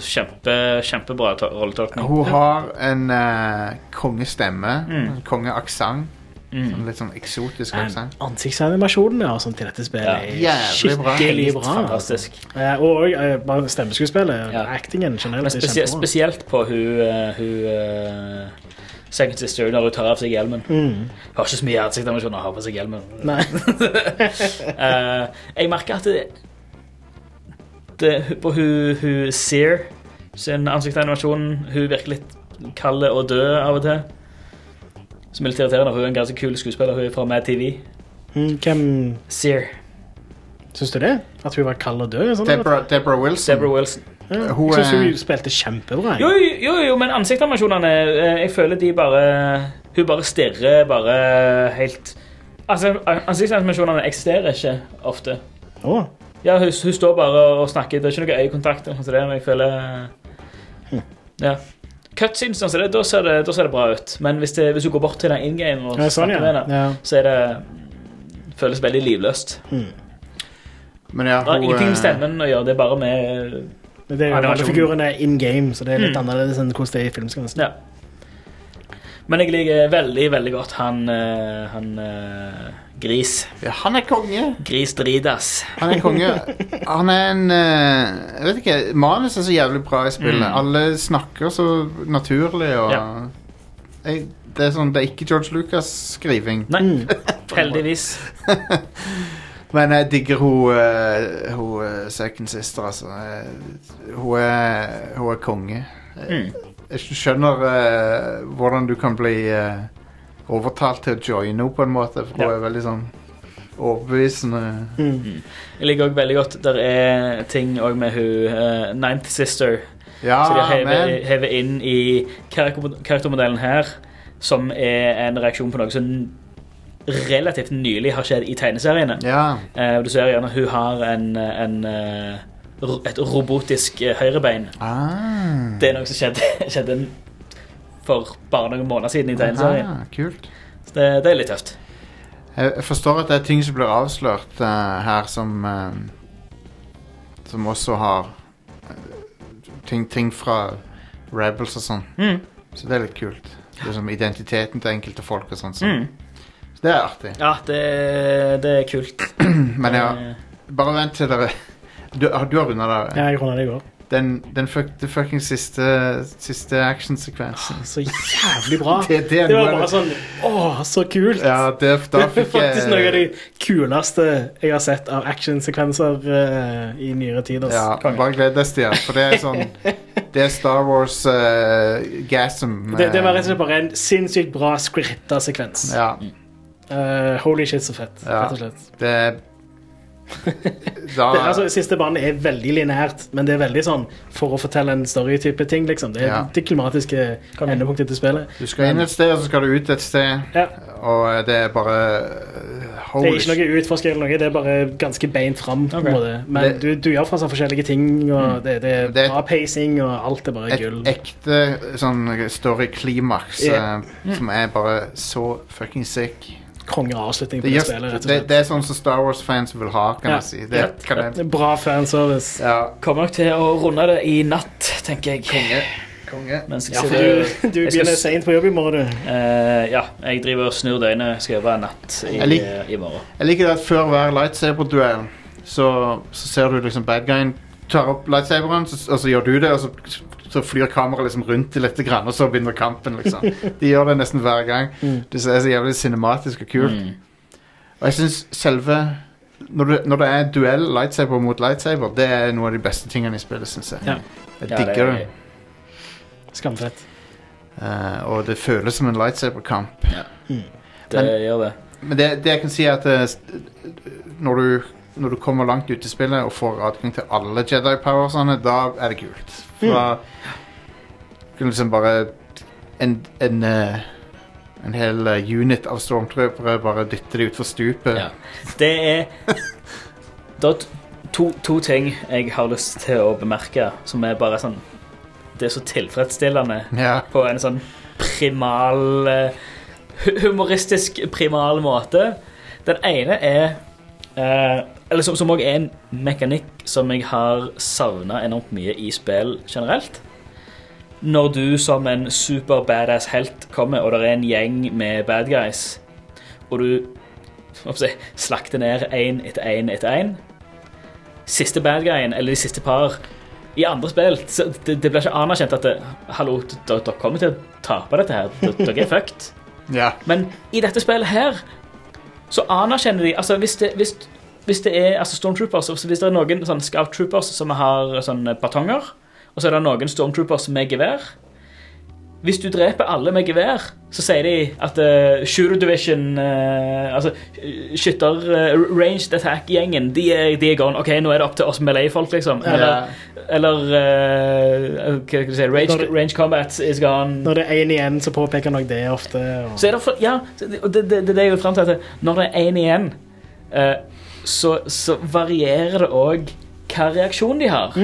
Kjempe, kjempebra to- rolletolkning.
hun har en eh, kongestemme.
Mm.
en Kongeaksent.
Mm.
Sånn litt sånn eksotisk
Men
aksent.
Ansiktsanimasjonen ja, og sånt til dette spillet
Ja.
er
Jævlig bra.
skikkelig
Helt
bra. altså.
Fantastisk.
Eh, Og og, eh, bare stemmeskuespillet.
Ja.
Actingen generelt
Men
er
spesie
kjempebra.
spesielt på hun, eh, hun eh, Second Sister når hun tar av seg hjelmen.
Mm.
Hun har ikke så mye ansiktsanimasjon når hun har på seg hjelmen.
Nei.
Eh, jeg merker at det, det På hun, hun Sear sin ansiktsanimasjon Hun virker litt kald og død av og til. Som er litt irriterende, for hun er en ganske kul skuespiller. Hun er fra Mad TV.
Mm, Hvem
Sear.
syns du det? At hun var kald og død? Sånn,
Deborah, Deborah Wilson.
Mm.
Deborah Wilson.
Ja.
Hun
Jeg syns
er-
hun spilte kjempebra. jeg.
Jo, jo, jo, jo men ansiktsanimasjonene eh, Jeg føler de bare Hun bare stirrer bare helt Altså, Ansiktsanimasjonene eksisterer ikke ofte.
Å,
Ja, hun, hun står bare og snakker. Det er ikke noe øyekontakt. eller noe sånt der, men jeg føler...
Hm.
Ja. Cutscenes, altså, det, da, ser det, da ser det bra ut. Men hvis, det, hvis du går bort til den in game og
ja, sånn,
snakker med
ja.
henne,
ja.
så er det føles veldig livløst.
Men ja,
Det har
hun
ingenting
eh,
med stemmen å gjøre, det er bare med
Men Det er jo
Animasjon.
alle figurene in game, så det er litt
Mm.
annerledes enn hvordan det er i filmskansen.
Ja. Men jeg liker veldig, veldig godt han, eh, han eh, Gris.
ja, Han er konge!
Gris Dridas.
Han er konge. Han er en eh, Jeg vet ikke, Manus er så jævlig bra i spillet.
Mm.
Alle snakker så naturlig. Og,
Ja.
jeg, det er sånn, det er ikke George Lucas-skriving.
Nei, heldigvis.
Men jeg digger hun, eh, hun eh, second sister, altså. Eh, hun, er, hun er konge. Eh,
Mm.
Jeg skjønner eh, hvordan du kan bli eh, overtalt til å joine henne, på en måte. For
Ja.
hun er veldig sånn overbevisende.
Jeg liker også veldig godt Der er ting også med hun eh, Ninth Sister.
Ja,
Så de har
men
hevet- hevet inn i karakter- karaktermodellen her, som er en reaksjon på noe som relativt nylig har skjedd i tegneseriene.
Ja.
Eh, du ser gjerne hun har en, en, eh, ro- et robotisk eh, høyrebein.
Ah.
Det er noe som skjedde, [LAUGHS] skjedde en- for bare noen måneder siden i tegneserien.
Ah, kult.
Så det, det er litt tøft.
Jeg jeg forstår at det er ting som blir avslørt eh, her som eh, Som også har eh, ting, ting fra Rebels og sånn.
Mm.
Så det er litt kult. Det er som identiteten til enkelte folk og sånn. Så.
Mm.
så det er artig.
Ja, det, det er kult.
Men ja,
Eh,
bare vent til dere Du, ah, du har runda det.
Ja, jeg runda det i går.
Den, den fuck, det fucking siste, siste actionsekvensen.
Så jævlig bra.
[LAUGHS] Det, det, er
Ah. Det var
noe av
bare
det-
sånn Å, så kult!
Ja,
[LAUGHS]
det, da
Det er
fikk jeg
faktisk noe av det kuleste jeg har sett av actionsekvenser eh, i nyere tid. ass.
ja, Bare gled deg, Stian, for
[LAUGHS]
det er sånn Det er Star Wars uh, gasm. eh,
Det, det var rett og slett bare en sinnssykt bra scripta sekvens.
Ja,
Eh, holy shit, så fett.
Ja.
rett og slett.
det er
[LAUGHS]
Da
Det, altså, siste banen er veldig lineært, men det er veldig sånn for å fortelle en story-type ting. liksom. Det er
Ja.
det klimatiske endepunktet til spillet.
Du skal inn et sted, og så skal du ut et sted,
Ja,
og eh, det er bare eh,
det
Holy
er ikke noe utforsker eller noe, det er bare ganske beint fram. på en måte. Men
Det-
du, du gjør fra seg forskjellige ting,
Mm.
og det, det er
Det er-
bra pacing, og alt er bare
Et
gull.
ekte eh, sånn story-klimaks
Ja.
eh, som er bare så fucking sick.
Kongeavslutning
Det,
på det
gjør,
spillet, rett
det,
og slett.
det er sånn som Star Wars-fans vil ha, kan
Ja.
jeg si. Det, kan jeg,
Bra fanservice.
ja,
Kommer nok til å runde det i natt, tenker jeg.
konge.
Mens jeg
Ja, for
sitter,
du, du
jeg skal
begynner
s-
seint på jobb i morgen, du.
Eh, ja, jeg driver og snur døgnet. Skal jobbe en natt i, eh,
Jeg lik-
i morgen.
Jeg liker det at før hver lightsaber-duell så, så ser du liksom bad guyen tar opp lightsaberen, så, og så gjør du det, og så, så flyr kameraet liksom rundt det litt, grann, og så begynner kampen,
[LAUGHS]
liksom. De gjør det nesten hver gang.
Mm.
Det er så jævlig cinematisk og kult.
Mm.
Og jeg syns selve når, du, når det er duell lightsaber mot lightsaber, det er noe av de beste tingene i spillet, syns jeg.
Ja.
Jeg
Ja, det er
digger det.
gøy.
Skamfett.
Eh, og det føles som en lightsaber-kamp.
Det
Men-
gjør det.
Men det, det jeg kan si er at eh, s- når, du, når du kommer langt ut i spillet og får adgang til alle Jedi powersene, da er det kult. For da kan du liksom bare en, en, eh, en hel eh, unit av stormtroopere bare dytte de utfor stupet.
Ja. Det er da t- to, to ting jeg har lyst til å bemerke, som er bare sånn Det er så tilfredsstillende
Ja.
på en sånn primal eh, hu- Humoristisk primal måte. Den ene er eh, Eller som, som også er en mekanikk som jeg har savna enormt mye i spill generelt. Når du som en super badass helt kommer, og det er en gjeng med bad guys, og du hva skal jeg si, slakter ned én etter én etter én Siste bad guyen, eller de siste par i andre spill så det, det blir ikke anerkjent at det, Hallo, d- d- dere kommer til å tape dette her. D- Dere er fucked.
ja.
Men i dette spillet her så anerkjenner de altså Hvis det, hvis, hvis det er altså stormtroopers altså Hvis det er noen sånn scout troopers som har sånne batonger, og så er det noen stormtroopers med gevær Hvis du dreper alle med gevær, så sier de at eh, shooter division eh, Altså eh, skytter eh, ranged attack-gjengen, de, er- de er gone. OK, nå er det opp til oss melee-folk, liksom. Eller, eller eh, hva skal jeg si range, range combat is gone.
Når det er én igjen, så påpeker nok det ofte. Og...
Så er det for, ja, så det- og det, det, det er det jeg vil frem til at Når det er én igjen eh, så, så varierer det òg hva
Mm.
reaksjon de har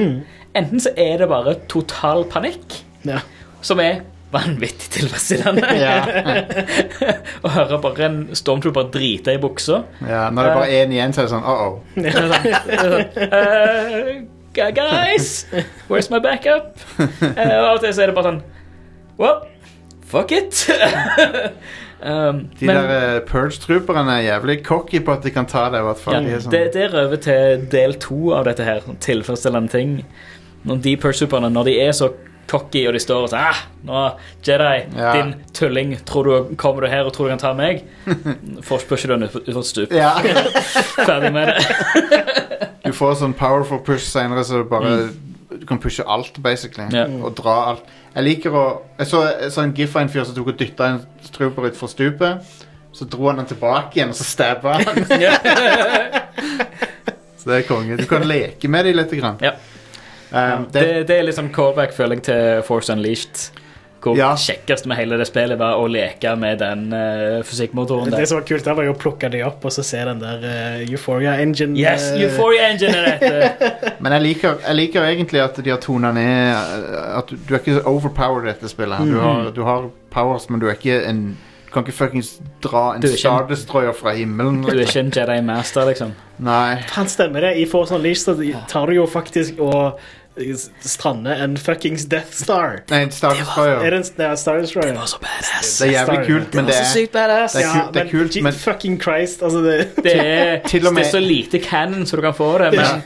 Enten så er det bare total panikk
Ja.
Som er vanvittig tilfredsstillende
[LAUGHS]
[LAUGHS]
Ja.
å høre bare en stormtrooper drite i buksa.
ja, Når det bare er én igjen, så er det sånn uh-oh.
Eh, gu- guys, where's
[LAUGHS]
my backup? Eh, og av og til så er det bare sånn Well, fuck it. [LAUGHS] um,
De der eh, Purge-trooperne er jævlig cocky på at de kan ta det. i hvert fall.
ja,
de er sånn,
det, det er over til del to av dette her, sånn tilfredsstillende ting. Når de pursuiterne, når de er så cocky og de står og sier ah, nå, Jedi,
Ja.
din tulling, tror du, kommer du her og tror du kan ta meg?
[LAUGHS]
Forspusher du henne ut- utfor et stup.
ja. [LAUGHS]
Ferdig med det.
Du får sånn powerful push senere, så du bare Du kan pushe alt, basically.
Mm. Ja.
Og dra alt. Jeg liker å Jeg så, jeg så en gif av en fyr som tok og dytta en trooper utfor stupet. Så dro han den tilbake igjen, og så stabba han.
[LAUGHS]
[LAUGHS] så det er konge. Du kan leke med dem litt. Grann.
Ja.
Um,
det.
det,
Det er litt sånn callback, føler jeg, til Force Unleashed. Hvor
Ja.
kjekkest med hele det spillet var å leke med den eh,
Det
fysikkmotoren
sånn,
der.
som var kult, der var jo å plukke de opp og så se den der eh, Euphoria Engine.
Yes,
eh,
Euphoria Engine er dette!
men jeg liker, jeg liker egentlig at de har tona ned eh, At du, du er ikke så overpowered i dette spillet. her. Du, har, du har powers, men du er ikke en Du kan ikke fuckings dra en
Du er ikke en-
Star Destroyer fra himmelen.
Du er ikke en Jedi Master, liksom.
Nei.
Han stemmer det. I Force Unleashed så tar du jo faktisk og eh, s- strander en fuckings Death Star.
Nei, en Star Destroyer.
Er det en det er Star Destroyer?
så badass.
Det er jævlig
Star-
kult, men det er,
badass.
det er kult, det er kult
Je-
men
Fucking Christ, altså det
Det er,
Til og med-
det er så lite canon som du kan få det, men
Ja.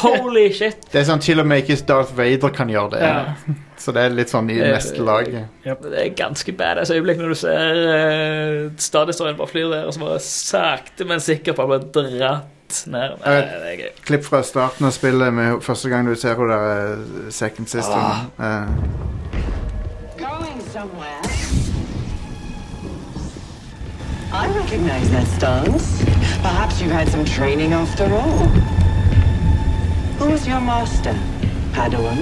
holy shit!
det er sånn til og med ikke Darth Vader kan gjøre det.
Ja.
[LAUGHS] Så det er litt sånn i
Eh,
neste lag.
Det er ganske badass øyeblikk når du ser uh, Stadistorien bare flyr der, og så bare sakte, men sikkert bare blir dratt ned. Nei,
Eh,
det er gøy.
Klipp fra starten av spillet med første gang du ser henne der eh, Second Sister. Eh,
Going somewhere. I recognize that stance. Perhaps you've had some training after all. Who was your master? Padawan?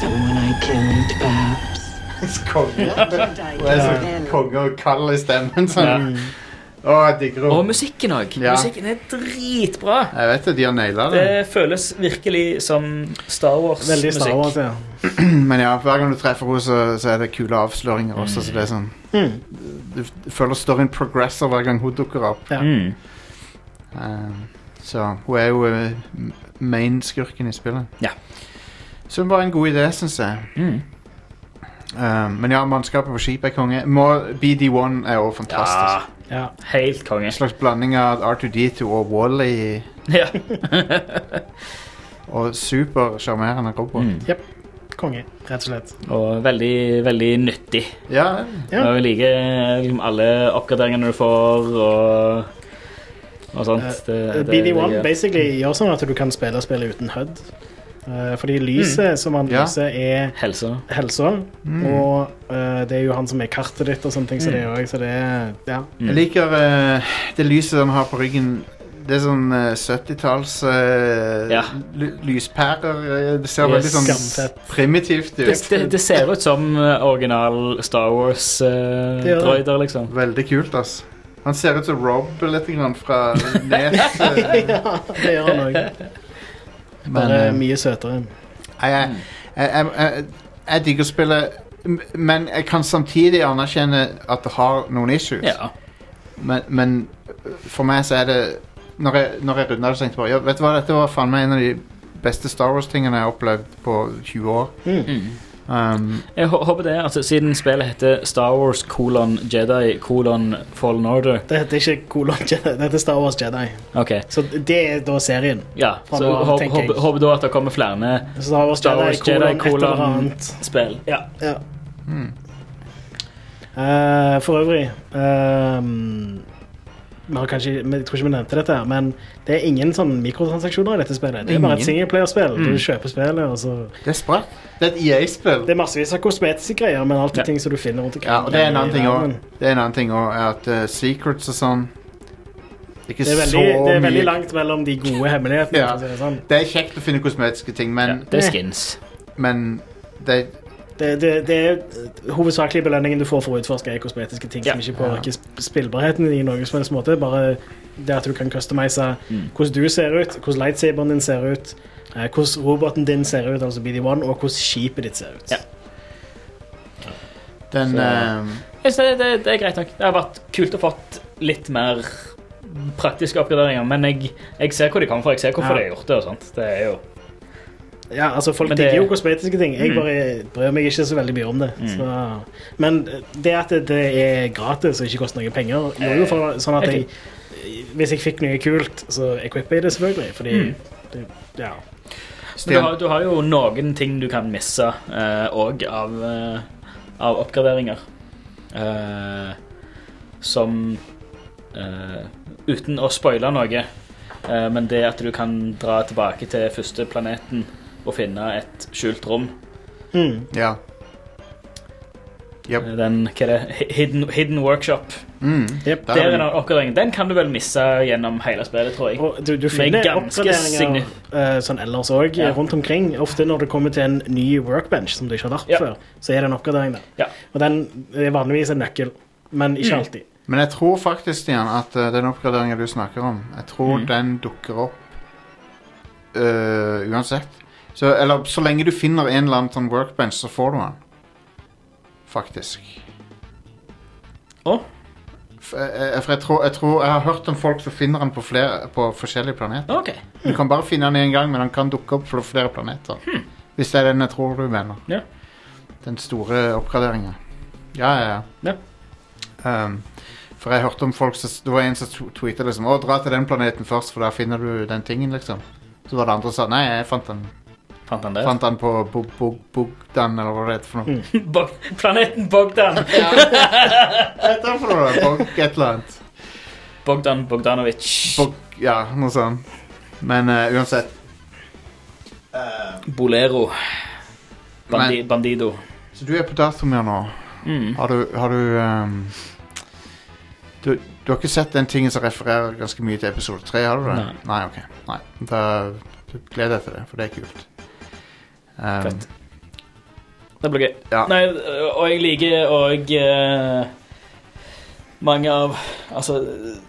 Someone I killed, perhaps.
konge.
Did I
Det er
kill
så
him?
konge og kald i stemmen. Sånn. Å, jeg digger
Og
henne.
musikken òg.
Ja.
Musikken er dritbra.
Jeg vet det, de har naila det.
Det føles virkelig som Star
[LAUGHS] Veldig Star Wars,
Wars-musikk.
ja.
[CLEARS THROAT] Men ja, hver gang du treffer henne, så, så er det kule avsløringer også. Så det er sånn
Hmm.
Du f- føler storyen progresser hver gang hun dukker opp.
Ja.
Mm.
Eh, så hun er jo eh, m- main-skurken i spillet.
Ja.
Som var en god idé, syns jeg.
Mm.
Eh, men ja, mannskapet på skipet er konge. Må, BD1 er jo fantastisk.
Ja,
ja.
helt konge.
En slags blanding av R2D2 og Wally
Ja.
[LAUGHS] og supersjarmerende robot.
Mm.
Konge, rett og slett.
Og veldig, veldig nyttig.
Ja,
Ja.
Og jeg liker liksom, alle oppgraderingene du får, og, og
Eh,
sånt. Det, det-
BD1
det-
basically gjør sånn at du kan spille spillet uten HUD. Eh, Fordi lyset som han
Ja. Hmm.
lyser, er
Helse.
helsa, og eh, det er jo han som er kartet ditt og sånne ting, så det er jo også- så det er Ja.
Mm.
Jeg liker eh, det lyset den har på ryggen. Det er sånn eh, 70-talls eh,
Ja.
ly- lyspærer. eh, Det ser
Yes.
veldig sånn
Skamfett.
primitivt
Det,
ut.
det, det ser ut som eh, original Star
Det gjør det.
Wars-droider, liksom.
Veldig kult, ass. Han ser ut som Rob litt grann
[LAUGHS]
fra Nes. eh,
ja, det gjør han òg.
[LAUGHS] men
Bare
eh,
mye søtere.
jeg, jeg, jeg, jeg, jeg digger spillet, m- men jeg kan samtidig anerkjenne at det har noen issues.
Ja.
Men, men for meg så er det Når jeg, når jeg runda det, så tenkte jeg bare ja, Vet du hva, dette var faen meg en av de beste Star Wars-tingene jeg har opplevd på 20 år. Um,
Jeg hå- håper det, altså Siden spillet heter Star Wars kolon Jedi kolon Fallen Order
Det heter ikke Colon Jedi, det heter Star Wars Jedi.
Ok,
Så det er da serien.
ja
Fra
Så
nå av,
hå-
tenker jeg.
håper håper da at det kommer flere
Star Wars
Star Wars
Jedi, hmm.
Jedi
kolon, et eller
kolon
annet.
spill. Ja.
Ja.
Hmm.
Eh, for øvrig ehm, vi har kanskje, men Jeg tror ikke vi nevnte dette, her, men det er ingen sånn mikrotransaksjoner i dette spillet. Det er bare et
Ingen. Hmm.
singleplayerspill. Du kjøper spillet, og så
det er sprøtt. Det er et EA-spill.
Det er massevis av kosmetiske greier, men alt er
Ja.
ting som du finner rundt omkring.
Ja, og det er en annen
i
ting
verden.
òg. Det er en annen ting også, er at eh, secrets og sånn Ikke
Det er veldig,
så
det er veldig
mye.
langt mellom de gode hemmelighetene.
Ja.
for å si Det, sånn.
Det er kjekt å finne kosmetiske ting,
ja.
men,
Det er skins.
men det,
det, det, det er eh, hovedsakelig belønningen du får for å utforske er kosmetiske ting som
Ja.
ikke påvirker sp- spillbarheten i noen som helst måte. Bare det at du kan customize
Mm.
hvordan du ser ut, hvordan lightsaberen din ser ut, eh, hvordan roboten din ser ut, altså BD1, og hvordan skipet ditt ser ut.
Ja.
Den
Så-
ehm,
Jeg synes det, det, det er greit nok. Det har vært kult å fått litt mer praktiske oppgraderinger, men jeg, jeg ser hvor de kommer fra. Jeg ser hvorfor
Ja.
de har gjort det. og sånt. Det er jo...
Ja, altså Folk
Men det-
digger jo kosmetiske ting. Jeg
Mm.
bare bryr meg ikke så veldig mye om det. Så. Men det at det er gratis og ikke koster noen penger, gjorde jo
Eh,
for, sånn at jeg Hvis jeg fikk noe kult, så equipper jeg det selvfølgelig. Fordi
Mm.
det, ja.
Men du har, du har jo noen ting du kan misse eh, òg av, eh, av oppgraderinger. Eh, som eh, Uten å spoile noe, eh, men det at du kan dra tilbake til første planeten og finne et skjult rom
Mm.
Ja. Yep.
eh, Den, hva er det? Hidden, hidden Workshop.
Mm.
Yep.
Der er det en oppgradering. Den kan du vel misse gjennom hele spillet, tror jeg.
Og du, du
Med
finner
ganske
oppgraderinger
signi-
eh, sånn ellers òg
Ja.
rundt omkring. Ofte når du kommer til en ny workbench som du ikke har vært
Ja.
før, så er det en oppgradering der.
Ja. Mm.
Og den er vanligvis en nøkkel, men ikke alltid.
Men jeg tror faktisk, Stian, at eh, den oppgraderingen du snakker om, jeg tror den dukker opp eh, uansett. Så, eller så lenge du finner en eller annen sånn workbench, så får du den. Faktisk.
Å?
F- eh, eh, For jeg tror, jeg tror Jeg har hørt om folk som finner den på, flere, på forskjellige planeter.
OK.
Du kan bare finne den én gang, men den kan dukke opp på flere planeter. Hvis det er den jeg tror du mener.
Ja.
Den store oppgraderingen. Ja, ja, ja. Ehm, for jeg hørte om folk som Det var en som tweeta liksom Å, dra til den planeten først, for der finner du den tingen, liksom. Så var det andre som sa nei, jeg fant den,
Fant han det?
fant den på Bo- Bo- Bogdan, eller hva det heter for noe.
[LAUGHS] Bog planeten Bogdan.
Hva er det for noe? Bog, et eller annet.
Bogdan Bogdanovic.
Bog, ja, noe sånt. Men eh, uansett.
Bolero. Bandi
Men-
Bandido.
Så du er på datamir nå.
Mm.
Har du Har du, ehm, du Du har ikke sett den tingen som refererer ganske mye til episode 3, har du det?
Nei.
Nei, ok. Nei. Da gleder jeg deg til det, for det er kult. Ehm,
Fett. Det blir gøy.
Ja.
Nei, og jeg liker òg mange av Altså eh,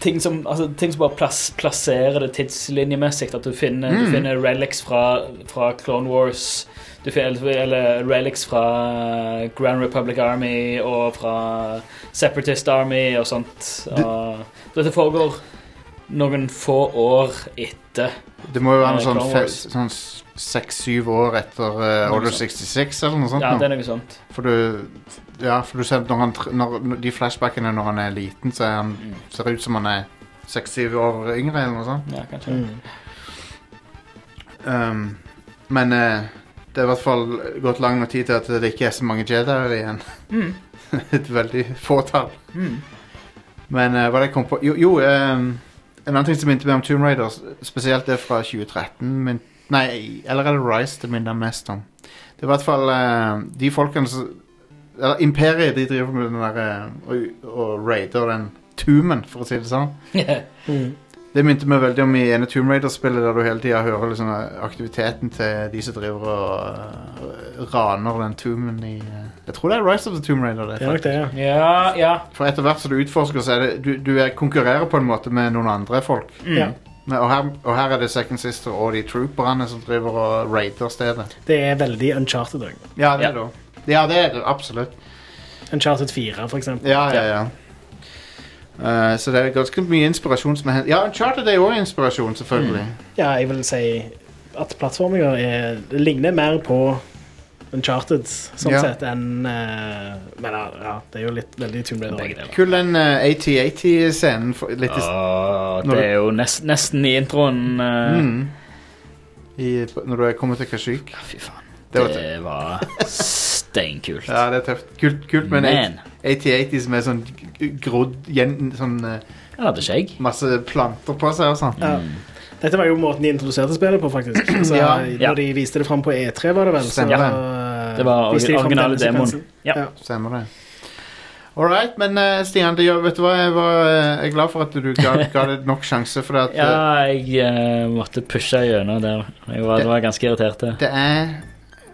Ting som, altså, ting som bare plass, plasserer det tidslinjemessig. At du finner, du
Mm.
finner relics fra, fra Clone Wars. Du finner, eller relics fra Grand Republic Army og fra Separatist Army og sånt. Og, dette foregår noen få år etter.
Det må jo være noe
Eh,
sånn
Clone
fe-
Wars.
sånn seks-syv år etter eh, Order 66 eller noe sånt.
Ja,
nå.
det er noe sånt.
For du Ja, for du ser at når han tr- når, når De flashbackene når han er liten, så er han, ser ut som han er seks-syv år yngre eller noe sånt.
Ja, kanskje.
Mm.
Um, men eh, det er i hvert fall gått lang nok tid til at det ikke er så mange Jedier igjen. [LAUGHS] Et veldig fåtall. Men eh, hva er det jeg kom på Jo, jo um, en annen ting som minte meg om Tomb Raider, s- spesielt det fra 2013 min, Nei, eller er det Rise det minner mest om? Det er i hvert fall eh, de folkene som eller, Imperiet de driver med den der eh, og, og raider den tumen, for å si det sånn.
Mm.
Det minte meg veldig om i ene Tomb Raider-spillet, der du hele tida hører liksom aktiviteten til de som driver og øh, raner den tomben i øh, Jeg tror det er Rise of the Tomb Raider. det
Det er nok det, ja.
[LAUGHS] Ja, ja.
For etter hvert som du utforsker, så er det Du, du er, konkurrerer på en måte med noen andre folk.
ja.
Men, og, her, og her er det Second Sister og de trooperne som driver og raider stedet.
Det er veldig uncharted òg.
Ja, det
Ja.
er det også. Ja, det er det absolutt.
Uncharted 4, for eksempel.
Ja, ja, ja. Eh, så det er ganske mye inspirasjon som er hentet. Ja, Charter er jo også inspirasjon, selvfølgelig.
Ja, jeg vil si at plattforminger er, det ligner mer på Uncharted sånn
Ja.
sett enn eh, Men ja, ja, det er jo litt veldig Tomb Raider. også.
Kul den eh, AT-AT-scenen for- litt i s-
Åh,
Når
det
du-
er jo nest, nesten i introen. eh,
Mm. I, på- når du er kommet til Kashyyyk.
Fy faen.
Det var
Det var steinkult.
Ja, det er tøft. Kult, kult med en
Man.
8080 som er sånn g- grodd gjen- sånn, eh,
Han hadde skjegg.
masse planter på seg og sånn.
Ja. Dette var jo måten de introduserte spillet på,
[CLEARS THROAT]
faktisk. Så
Ja.
Når de viste det fram på E3, var det vel, så
Stemmer det.
eh,
Det var
viste de fram
originale
denne
demoen.
sekvensen.
Ja.
Ja.
Stemmer det. All right, men eh, Stian, det gjør, vet du hva? Jeg, var, eh, jeg er glad for at du ga, ga det nok sjanse, for at, eh,
[LAUGHS] Ja, jeg eh, måtte pushe gjennom der. Jeg var,
Det-
det var ganske irritert. det.
det er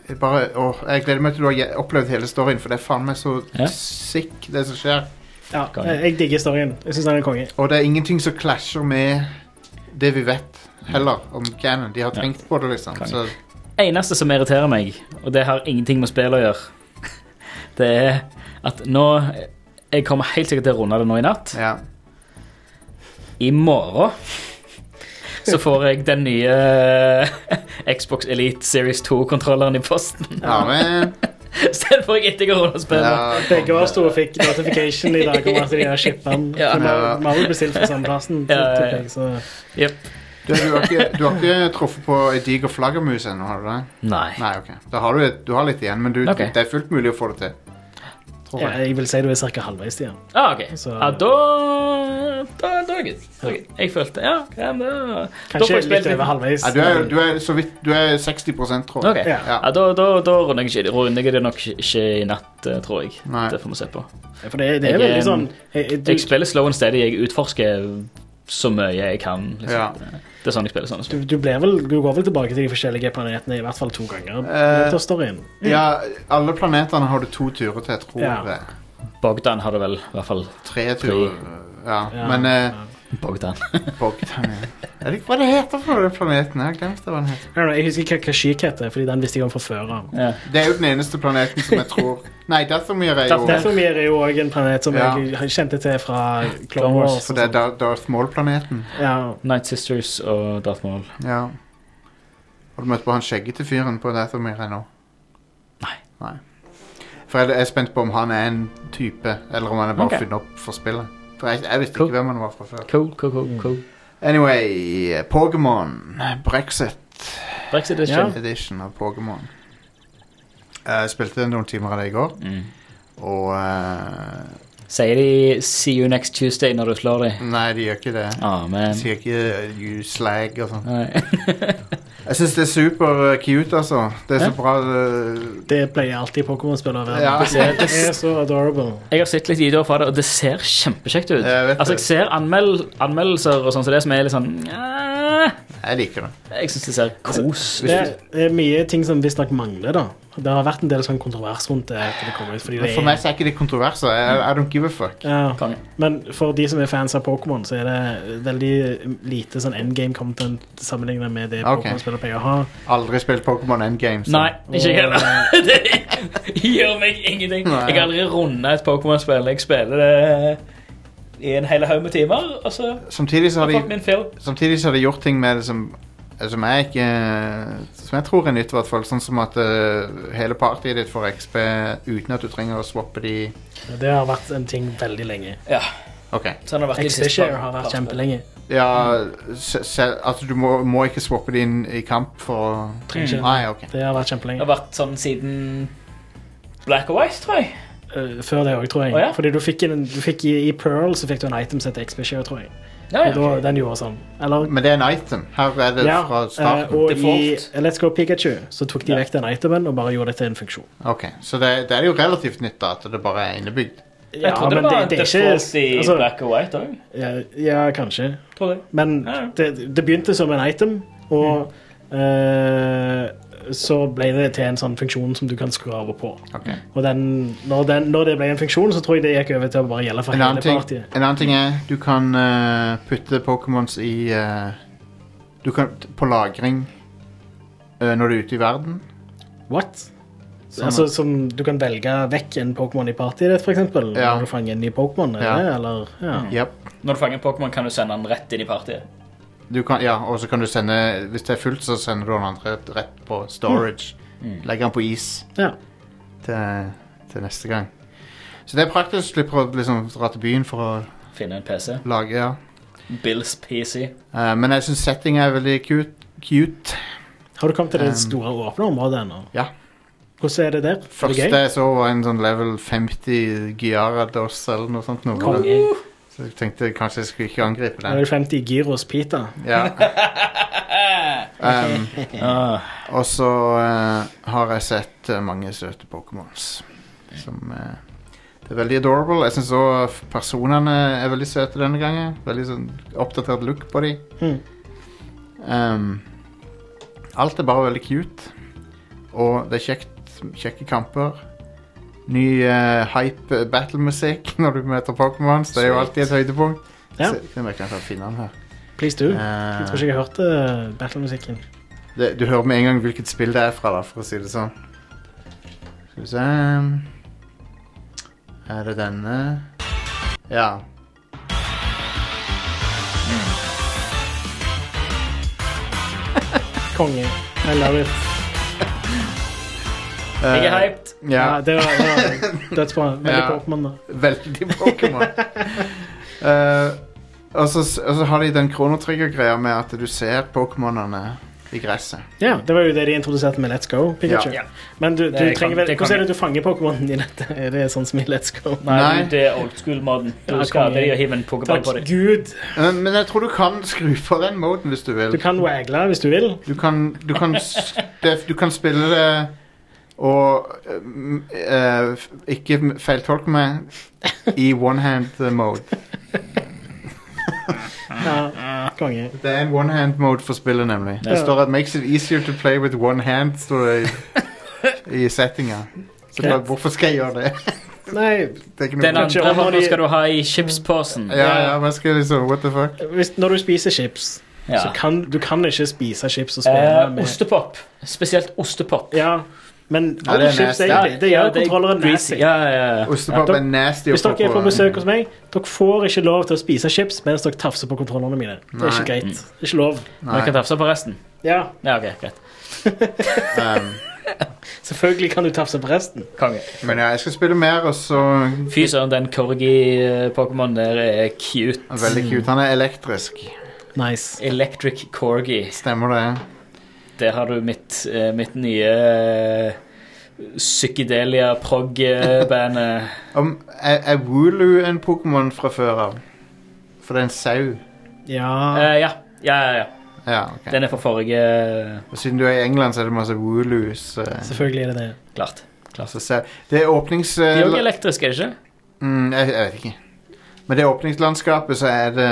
jeg bare, åh, Jeg gleder meg til du har je- opplevd hele storyen, for det er faen meg så
Ja.
sick, det som skjer.
Ja.
Konge.
eh, Jeg digger storyen. Jeg syns den er konge.
Og det er ingenting som clasher med det vi vet, heller, om Cannon. De har tenkt på det, liksom.
Kan-
Så
Eneste som irriterer meg, og det har ingenting med spill å gjøre, [LAUGHS] det er at nå Jeg kommer helt sikkert til å runde det nå i natt.
Ja.
I morgen [LAUGHS] så får jeg den nye eh, [LAUGHS] Xbox Elite Series 2-kontrolleren i posten. [LAUGHS]
Ja, men
Så den får jeg etter jeg har rundet spillet.
ja,
eh, Begge oss to fikk notification i dag om at de har shippa den.
Ja.
For Vi har- vi har jo bestilt fra samme plassen.
Ja, ja, ja.
tipper jeg, så-
du, du, har ikke, du har ikke truffet på ei diger flaggermus ennå, har du det?
Nei.
Nei, ok. Da har du, et, du har litt igjen, men du,
Ok.
det er fullt mulig å få det til. Tror
Ja,
jeg.
Jeg vil si du er ca. halvveis til den.
Ah, ok.
Så-
Ja, da Da da er det good. Da er det good. Jeg følte Ja, ok, da Da får
Kanskje
jeg
litt
spilt
over
litt.
halvveis.
Nei, du, er, du er så vidt Du er 60 tror jeg.
Ok.
Ja.
Ja.
Ja, da, da, da runder jeg ikke runder jeg det nok ikke i natt, eh, tror jeg.
Nei.
Det får vi se på.
For det, det er
Jeg,
veldig
um,
sånn jeg, jeg, du,
Jeg spiller slow and steady. Jeg utforsker så mye jeg kan. Liksom.
Ja.
Det er sånn jeg spiller sånne spill.
du, du, ble vel, du går vel tilbake til de forskjellige planetene i hvert fall to ganger?
Eh,
Uh, storyen.
ja, alle planetene har du to turer til, tror
Ja.
jeg.
Bogdan har det vel, i hvert fall.
Tre turer. Ja,
Ja.
men eh,
[LAUGHS]
Bogdan.
Bogdan ja. Er det, Hva det heter for den planeten? Jeg har glemt hva den heter.
Jeg, jeg husker hva Kashik heter, Fordi den visste jeg om fra før av.
Ja.
Det er jo den eneste planeten som jeg
[LAUGHS]
tror Nei, Dathomir er jo
Derfor er det jo også en planet som
Ja.
jeg kjente til fra Clone
Clone Wars.
Wars.
For det er Dar- Darth Maul-planeten.
Ja,
Night Sisters og Darth Maul.
Ja. Har du møtt på han skjeggete fyren på Dathomir ennå?
Nei.
Nei. For jeg jeg er spent på om han er en type, eller om han er bare
Ok.
funnet opp for spillet. For jeg, jeg visste
Cool.
ikke hvem han var fra før.
Cool, cool, cool. cool.
Anyway, Pokémon. Brexit
Brexit er
Ja.
kjent.
edition av Pokémon. Jeg spilte noen timer av det i går,
Mm.
og eh,
Sier de 'see you next Tuesday' når du slår dem?
Nei, de gjør ikke det. De
Amen.
Mm. sier ikke eh, 'you slag' og sånn.
Nei.
Jeg syns det er super eh, cute, altså. Det er så
Ja.
bra eh,
Det pleier alltid Pokémon-spill å være.
Ja.
Det er så adorable.
Jeg har sett litt videoer fra det, og det ser kjempekjekt ut.
Jeg vet
altså,
det.
jeg ser anmel anmeldelser og sånn som det, som er litt sånn eh,
Jeg liker det.
Jeg syns det ser kos
Det er, det er mye ting som visstnok mangler, da. Det har vært en del sånn kontrovers rundt det. etter det kom ut, fordi det
Men for meg så er ikke det kontroverser. I, I don't give a fuck.
Ja.
Konge.
Men for de som er fans av Pokémon, så er det veldig lite sånn endgame content sammenlignet med det
Ok.
Pokémon-spillet pleier å ha.
Aldri spilt Pokémon Endgame. så-
Nei, ikke jeg heller. [LAUGHS] Det gjør meg ingenting.
Nei.
Jeg har aldri runda et Pokémon-spill. Jeg spiller det i en hel haug med timer, og så
Samtidig så har
har jeg
de,
fått min fill.
samtidig så har de gjort ting med det som som jeg ikke Som jeg tror er nytt, i hvert fall. Sånn som at eh, hele partyet ditt får XP uten at du trenger å swappe de
Det har vært en ting veldig lenge.
Ja,
OK.
sånn har det vært de siste
Xfishare
par-
har vært
par-
kjempelenge.
Ja, se, se, altså du må, må ikke swappe de inn i kamp for å
Trenger ikke.
Nei, OK.
Det har vært
Det
kjempelenge.
har vært sånn siden Black and White, tror jeg.
Eh, Før det òg, tror jeg.
Å, ja?
Fordi du fikk, en, du fikk i, i Pearl så fikk du en item som heter Xfishare, tror jeg.
Ja,
Og da,
ja.
den gjorde sånn. Eller
Men det er en item. Her er det
Ja,
fra
eh,
starten.
og
Default.
i Let's Go Pikachu så tok de
Ja.
vekk den itemen og bare gjorde det til en funksjon.
OK. Så det, det er jo relativt nytt, da, at det bare er innebygd.
Jeg trodde det var
er ikke-
default i
altså,
Black and White òg.
ja, ja, kanskje.
Tror jeg.
Men
Ja, Mm. ja.
det, det begynte som en item, og eh, så ble det til en sånn funksjon som du kan skru av og på.
Ok.
Og den, når, den, når det ble en funksjon, så tror jeg det gikk over til å bare gjelde for
En annen,
hele
ting,
partiet.
en annen ting er Du kan eh, putte Pokémons i eh, Du kan t- på lagring eh, når du er ute i verden.
What?
Sånn
altså,
at-
som du kan velge vekk en Pokémon i partiet ditt, for eksempel.
Ja.
Når du fanger en ny Pokémon,
Ja. Mm.
eller, eller ja.
Jep.
Når du fanger en Pokémon, kan du sende den rett inn i partiet.
Du kan, ja, og så kan du sende Hvis det er fullt, så sender du den andre rett- rett på storage. Legger den på is
ja.
til, til neste gang. Så det er praktisk. Du slipper å liksom, dra til byen for å
Finne en PC.
lage. ja
Bills PC.
Eh, Men jeg syns settinga er veldig cute. cute.
Har du kommet til det
Um,
store åpne området ennå?
ja.
Hvordan er det der? Er
Første
det gøy?
jeg så, var en sånn level 50 Gyarados eller noe sånt. Noe.
Konge.
Så jeg tenkte kanskje jeg skulle ikke angripe
Level
den.
50 Gyros Pita.
Ja. Um,
Ah.
og så eh, har jeg sett eh, mange søte Pokémons. Som eh, Det er veldig adorable. Jeg syns òg personene er veldig søte denne gangen. Veldig sånn oppdatert look på dem.
Mhm.
alt er bare veldig cute. Og det er kjekt, kjekke kamper. Ny eh, hype battlemusikk [LAUGHS] når du møter Pokémon. Det er jo alltid et høydepunkt.
Ja.
Se, se om jeg kan finne den her.
Please do.
Eh,
Jeg tror ikke jeg hørte battlemusikken.
det, du hører med en gang hvilket spill det er fra, da, for å si det sånn. Skal vi se Er det denne? Ja.
Konge. I love it.
Eh,
Jeg er hyped.
Ja.
Ja, det var, det
[LAUGHS]
var dødsbra. Veldig
Ja.
Pokémon, da.
Veldig Pokémon. Eh, og, så, og så har de den kronotrigger-greia med at du ser Pokémonene i gresset.
Ja, det var jo det de introduserte med Let's Go, Pikachu.
Ja.
Ja.
Men du, du
Det kan-
trenger vel
det kan-
Hvordan er det du fanger Pokémonen i dette? Er det sånn som i Let's Go?
Nei,
Nei.
det er old school-maten. Du
Ja,
skader
konge.
deg og hiver en pokéball
Takk
på deg.
Gud.
Eh, men jeg tror du kan skru på den moden hvis du
Du
vil.
kan wagle hvis du vil.
Du kan, du kan, s- det, du kan spille det og eh, m- eh, f- ikke m- feiltolke meg i one-hand mode.
Ja, konge.
Det er en one-hand mode for spillet, nemlig. Det
Ja.
står at 'makes it easier to play with one hand' står det i, i settinga. Så
Greit.
bare, hvorfor skal jeg gjøre det?
Nei,
det er ikke noe
Den
Kanskje
andre
om de-
hånda skal du ha i chipsposen.
Ja, ja, hva skal jeg liksom, what the fuck?
hvis, når du spiser chips,
Ja.
så kan du kan ikke spise chips og spille
Eh,
med
ostepop. Spesielt ostepop.
Ja, men
Ja, det
alle
er
chips
nasty.
egentlig. Det
Ja,
gjør
er
kontrolleren
greasy.
nasty.
Ja, ja, ja.
Ostepop
Ja,
er nasty å
Hvis
få
dere er på
på.
besøk hos meg, dere får ikke lov til å spise chips mens dere tafser på kontrollene mine. Det
Nei.
er ikke greit. Det er ikke lov.
Men
Nei,
jeg kan tafse på resten.
Ja,
Ja, ok, greit.
ehm,
selvfølgelig kan du tafse på resten.
Konge.
men ja, jeg skal spille mer, og så
Fy søren, den corgi-pokémonen der er cute.
er Veldig cute. Han er elektrisk.
Nice.
Electric corgi.
Stemmer det?
Der har du mitt, eh, mitt nye eh, psykedelia prog-band. eh.
Om, er, er Wooloo en Pokémon fra før av? For det er en sau.
[LAUGHS] Ja.
Eh, ja. Ja, ja, ja.
Ja, ok.
Den er fra forrige eh,
Og siden du er i England, så er det masse Wooloos. eh,
Selvfølgelig er det det.
Klart.
altså sau. Det er åpnings...
De
eh,
er også elektriske, er det ikke?
Mm, jeg, jeg vet ikke. Men det åpningslandskapet så er det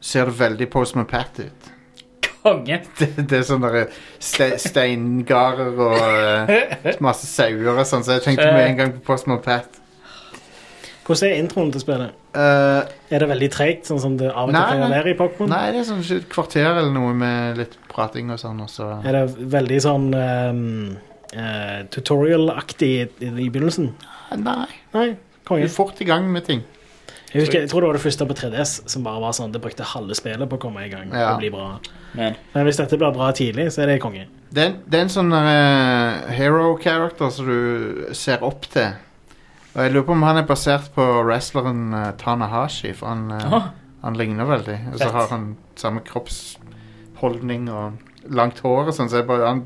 Ser det veldig Post Pat ut. [LAUGHS]
Konge.
Det, det er sånne der eh, ste, steingarder og
[LAUGHS]
eh, masse sauer og sånn, så jeg tenkte med en gang på Post Pat.
Hvordan er introen til spillet?
Eh,
Er det veldig treigt, sånn som det av og til
Nei,
kan
nei.
være i Pokémon?
nei, det er sånn et kvarter eller noe med litt prating og sånn, og så
Er det veldig sånn ehm, eh, tutorial-aktig i, i, i begynnelsen?
Nei.
Nei.
Du
Konge.
er fort i gang med ting.
Jeg, husker, jeg tror det var det første på 3DS som bare var sånn Det brukte halve spillet på å komme i gang.
Ja.
Og bli bra.
Men.
Men hvis dette blir bra tidlig, så er det konge.
Det er, en- det er en sånn eh, hero character som du ser opp til. Og jeg lurer på om han er basert på wrestleren eh, Tanahashi, for han, eh,
Aha.
han ligner veldig. Og så
Fett.
har han samme kroppsholdning og langt hår og sånn. Så jeg bare, han,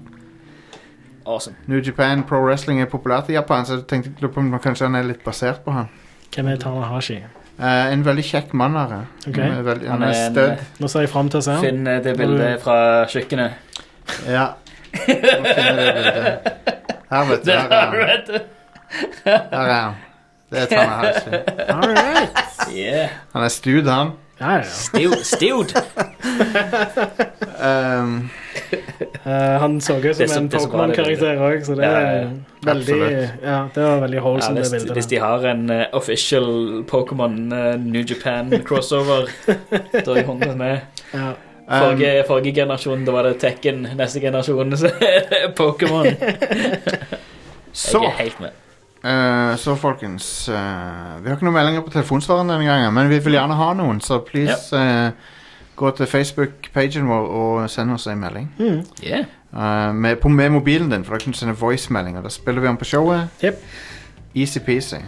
Awesome.
New Japan Pro Wrestling er populært i Japan, så jeg tenkte jeg lurer på om man- kanskje han er litt basert på han.
Hvem er Tanahashi?
Eh, en veldig kjekk mann her. eh.
Ok.
Han er, veldig, han
Han
er
er en,
stødd.
Nå ser jeg fram til å se han.
Finn eh, det bildet fra
[LAUGHS]
kjøkkenet.
Ja. Nå finner jeg det bildet. Her,
[LAUGHS]
vet du. Her er han. Her er han. Det er Tanahashi.
All right.
Yeah.
Han er stud, han.
Ja, ja, ja.
Stew- Stewed.
Ehm,
Eh, han så ut
Det er så-
som en
det er så bra, det
Pokémon-karakter òg, så det
Ja,
er
ja, ja.
veldig
Absolutt.
Ja, det var veldig
Ja,
holesome,
hvis,
det bildet.
hvis
der.
de har en eh, official Pokémon eh, New Japan
[LAUGHS]
crossover, da er jeg 100 med.
Ja. Um,
Forrige, forrige generasjon, da var det Tekken. Neste generasjon så er det Pokémon.
[LAUGHS]
så,
Jeg er helt med.
eh, så folkens eh, Vi har ikke noen meldinger på telefonsvareren denne gangen, men vi vil gjerne ha noen, så please eh, gå til Facebook-pagen vår og send oss en melding.
Yeah.
Eh, med, på, med mobilen din, for da kan du sende voicemeldinger. Da spiller vi den på showet.
Jep.
Easy-peasy.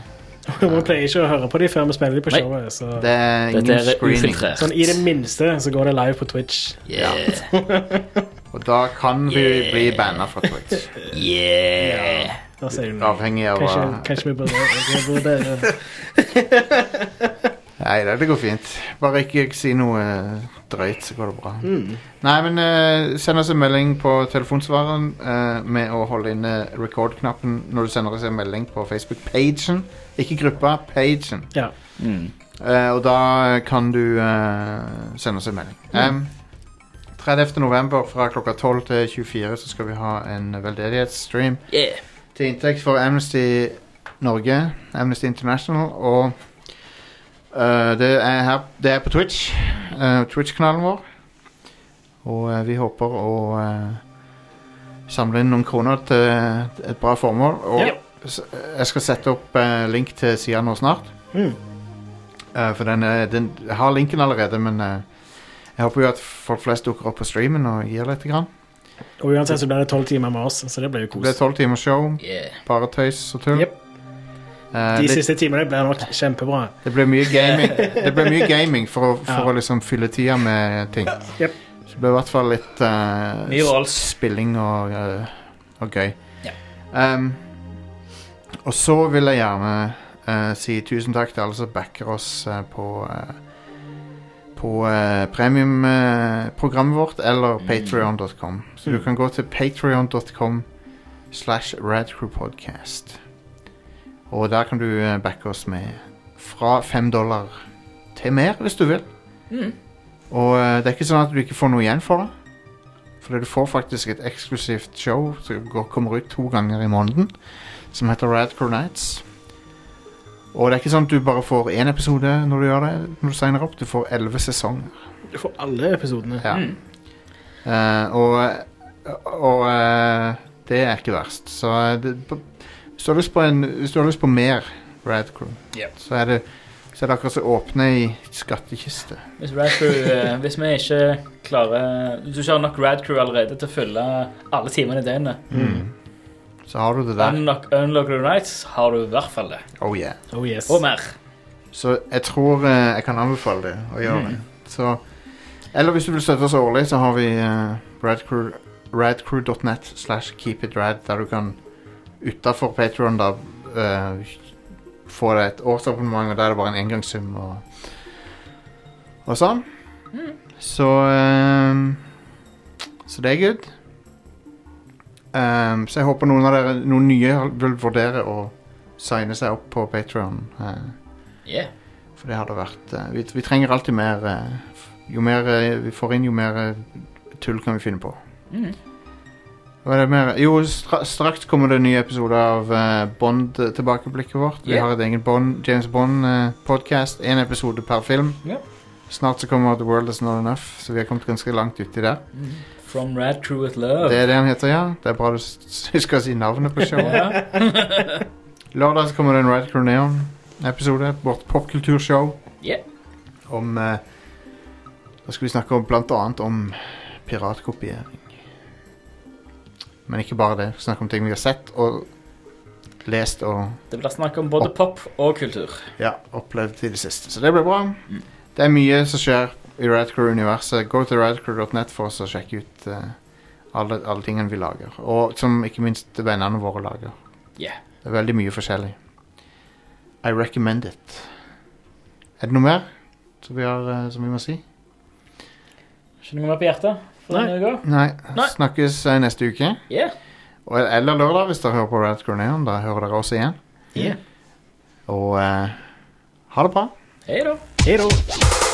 Vi pleier ikke å høre på de før vi spiller de på
Nei.
showet. Så.
Det er ingen
Dette er
screening.
ufiltrert.
Sånn, I det minste så går det live på Twitch.
Yeah.
Og da kan vi bli banna fra
[LAUGHS]
Twitch.
Yeah.
Da ser du noe.
Avhengig av
Kanskje,
hva
kanskje vi burde, vi burde
Nei, det, det går fint. Bare ikke si noe eh, drøyt, så går det bra. Nei, men eh, send oss en melding på telefonsvareren eh, med å holde inne record-knappen når du sender oss en melding på Facebook-pagen. Ikke gruppa, pagen.
Ja.
Mm.
Eh, og da kan du eh, sende oss en melding. Em, 30. november fra klokka 12 til 24 så skal vi ha en veldedighetsstream
Yeah.
til inntekt for Amnesty Norge, Amnesty International, og eh, det, er her, det er på Twitch, eh, Twitch-kanalen vår. Og eh, vi håper å eh, samle inn noen kroner til et bra formål. Og
Ja.
s- Jeg skal sette opp eh, link til sida nå snart.
Mm.
Eh, for den, eh, den jeg har linken allerede, men eh, jeg håper jo at folk flest dukker opp på streamen og gir litt. Grann.
Og uansett så blir det tolv timer med oss, så det blir jo
Det blir
kos.
tolv timers show.
Yeah.
Bare tøys og tull.
Jep.
Eh,
De
litt-
siste timene blir nok kjempebra.
Det ble mye gaming,
[LAUGHS]
det ble mye gaming for, å, for
Ja.
å liksom fylle tida med ting.
Jep.
Så det ble i hvert fall litt eh,
Mye rolls.
spilling og, eh, og gøy.
Ja.
Ehm, og så vil jeg gjerne eh, si tusen takk til alle som backer oss eh, på eh, på eh, premiumprogrammet vårt eller
Mm.
patreon.com. Så du kan gå til patreon.com slash radcrewpodcast. Og der kan du eh, backe oss med fra 5 dollar til mer, hvis du vil. Og eh, det er ikke sånn at du ikke får noe igjen for det. For du får faktisk et eksklusivt show som går, kommer ut to ganger i måneden, som heter Radcrow Nights. Og det er ikke sånn at du bare får én episode når du gjør det, når du signer opp. Du får elleve sesonger.
Du får alle episodene.
Ja. Eh, og og eh, det er ikke verst. Så eh, det, på- hvis, du har lyst på en, hvis du har lyst på mer Radcrow,
Ja.
så, er det, så er det akkurat som å åpne ei skattkiste.
Hvis, Rad Crew, eh, hvis vi ikke klarer Du ikke har nok Rad Crew allerede til å fylle alle timene i døgnet.
Så har du det der.
Unlock, unlock the Nights har du i hvert fall det.
Oh yeah.
Oh yes.
Og mer.
Så jeg tror eh, jeg kan anbefale det å gjøre det. Så, eller hvis du vil støtte oss årlig, så har vi eh, radcrew, radcrew.net slash keepitrad, der du kan utafor Patreon da eh, få deg et årsabonnement, og der er det bare en engangssum og, og sånn. Så eh, Så det er good. Eh, så jeg håper noen av dere, noen nye vil vurdere å signe seg opp på Patreon. eh.
Yeah.
For det hadde vært eh, vi, vi trenger alltid mer eh, f- Jo mer eh, vi får inn, jo mer eh, tull kan vi finne på.
Mhm.
Hva er det mer? Jo, stra straks kommer det nye episoder av eh, Bond-tilbakeblikket vårt. Vi
Ja.
har et eget Bond, James Bond-podkast. Én episode per film.
Ja.
Snart så kommer The World Is Not Enough, så vi har kommet ganske langt uti der.
From Rad Crew with Love.
Det er det han heter, ja. Det er bra du s- s- [LAUGHS] husker å si navnet på showet.
Ja.
[LAUGHS] Lørdag så kommer det en Red Crew Neon-episode. Vårt popkulturshow.
Ja.
Om eh, Da skal vi snakke om blant annet om piratkopiering. Men ikke bare det. Vi skal snakke om ting vi har sett og lest og
Det blir snakk om både pop og kultur.
ja, opplevd i det siste. Så det blir bra. Det er mye som skjer i Radcrew-universet. Gå til radcrew.net for oss å sjekke ut eh, alle, alle tingene vi lager. Og som ikke minst vennene våre lager.
Yeah.
Det er veldig mye forskjellig. I recommend it. Er det noe mer som vi, har, eh, som vi må si?
Skjønner du meg på hjertet? For
Nei.
denne uka?
Nei.
Nei.
Snakkes eh, neste uke.
Yeah.
Og, eh, eller lørdag, hvis dere hører på Radcrew Neon. Da hører dere oss igjen.
Yeah.
Og eh, ha det bra.
Hei da.
Hei da.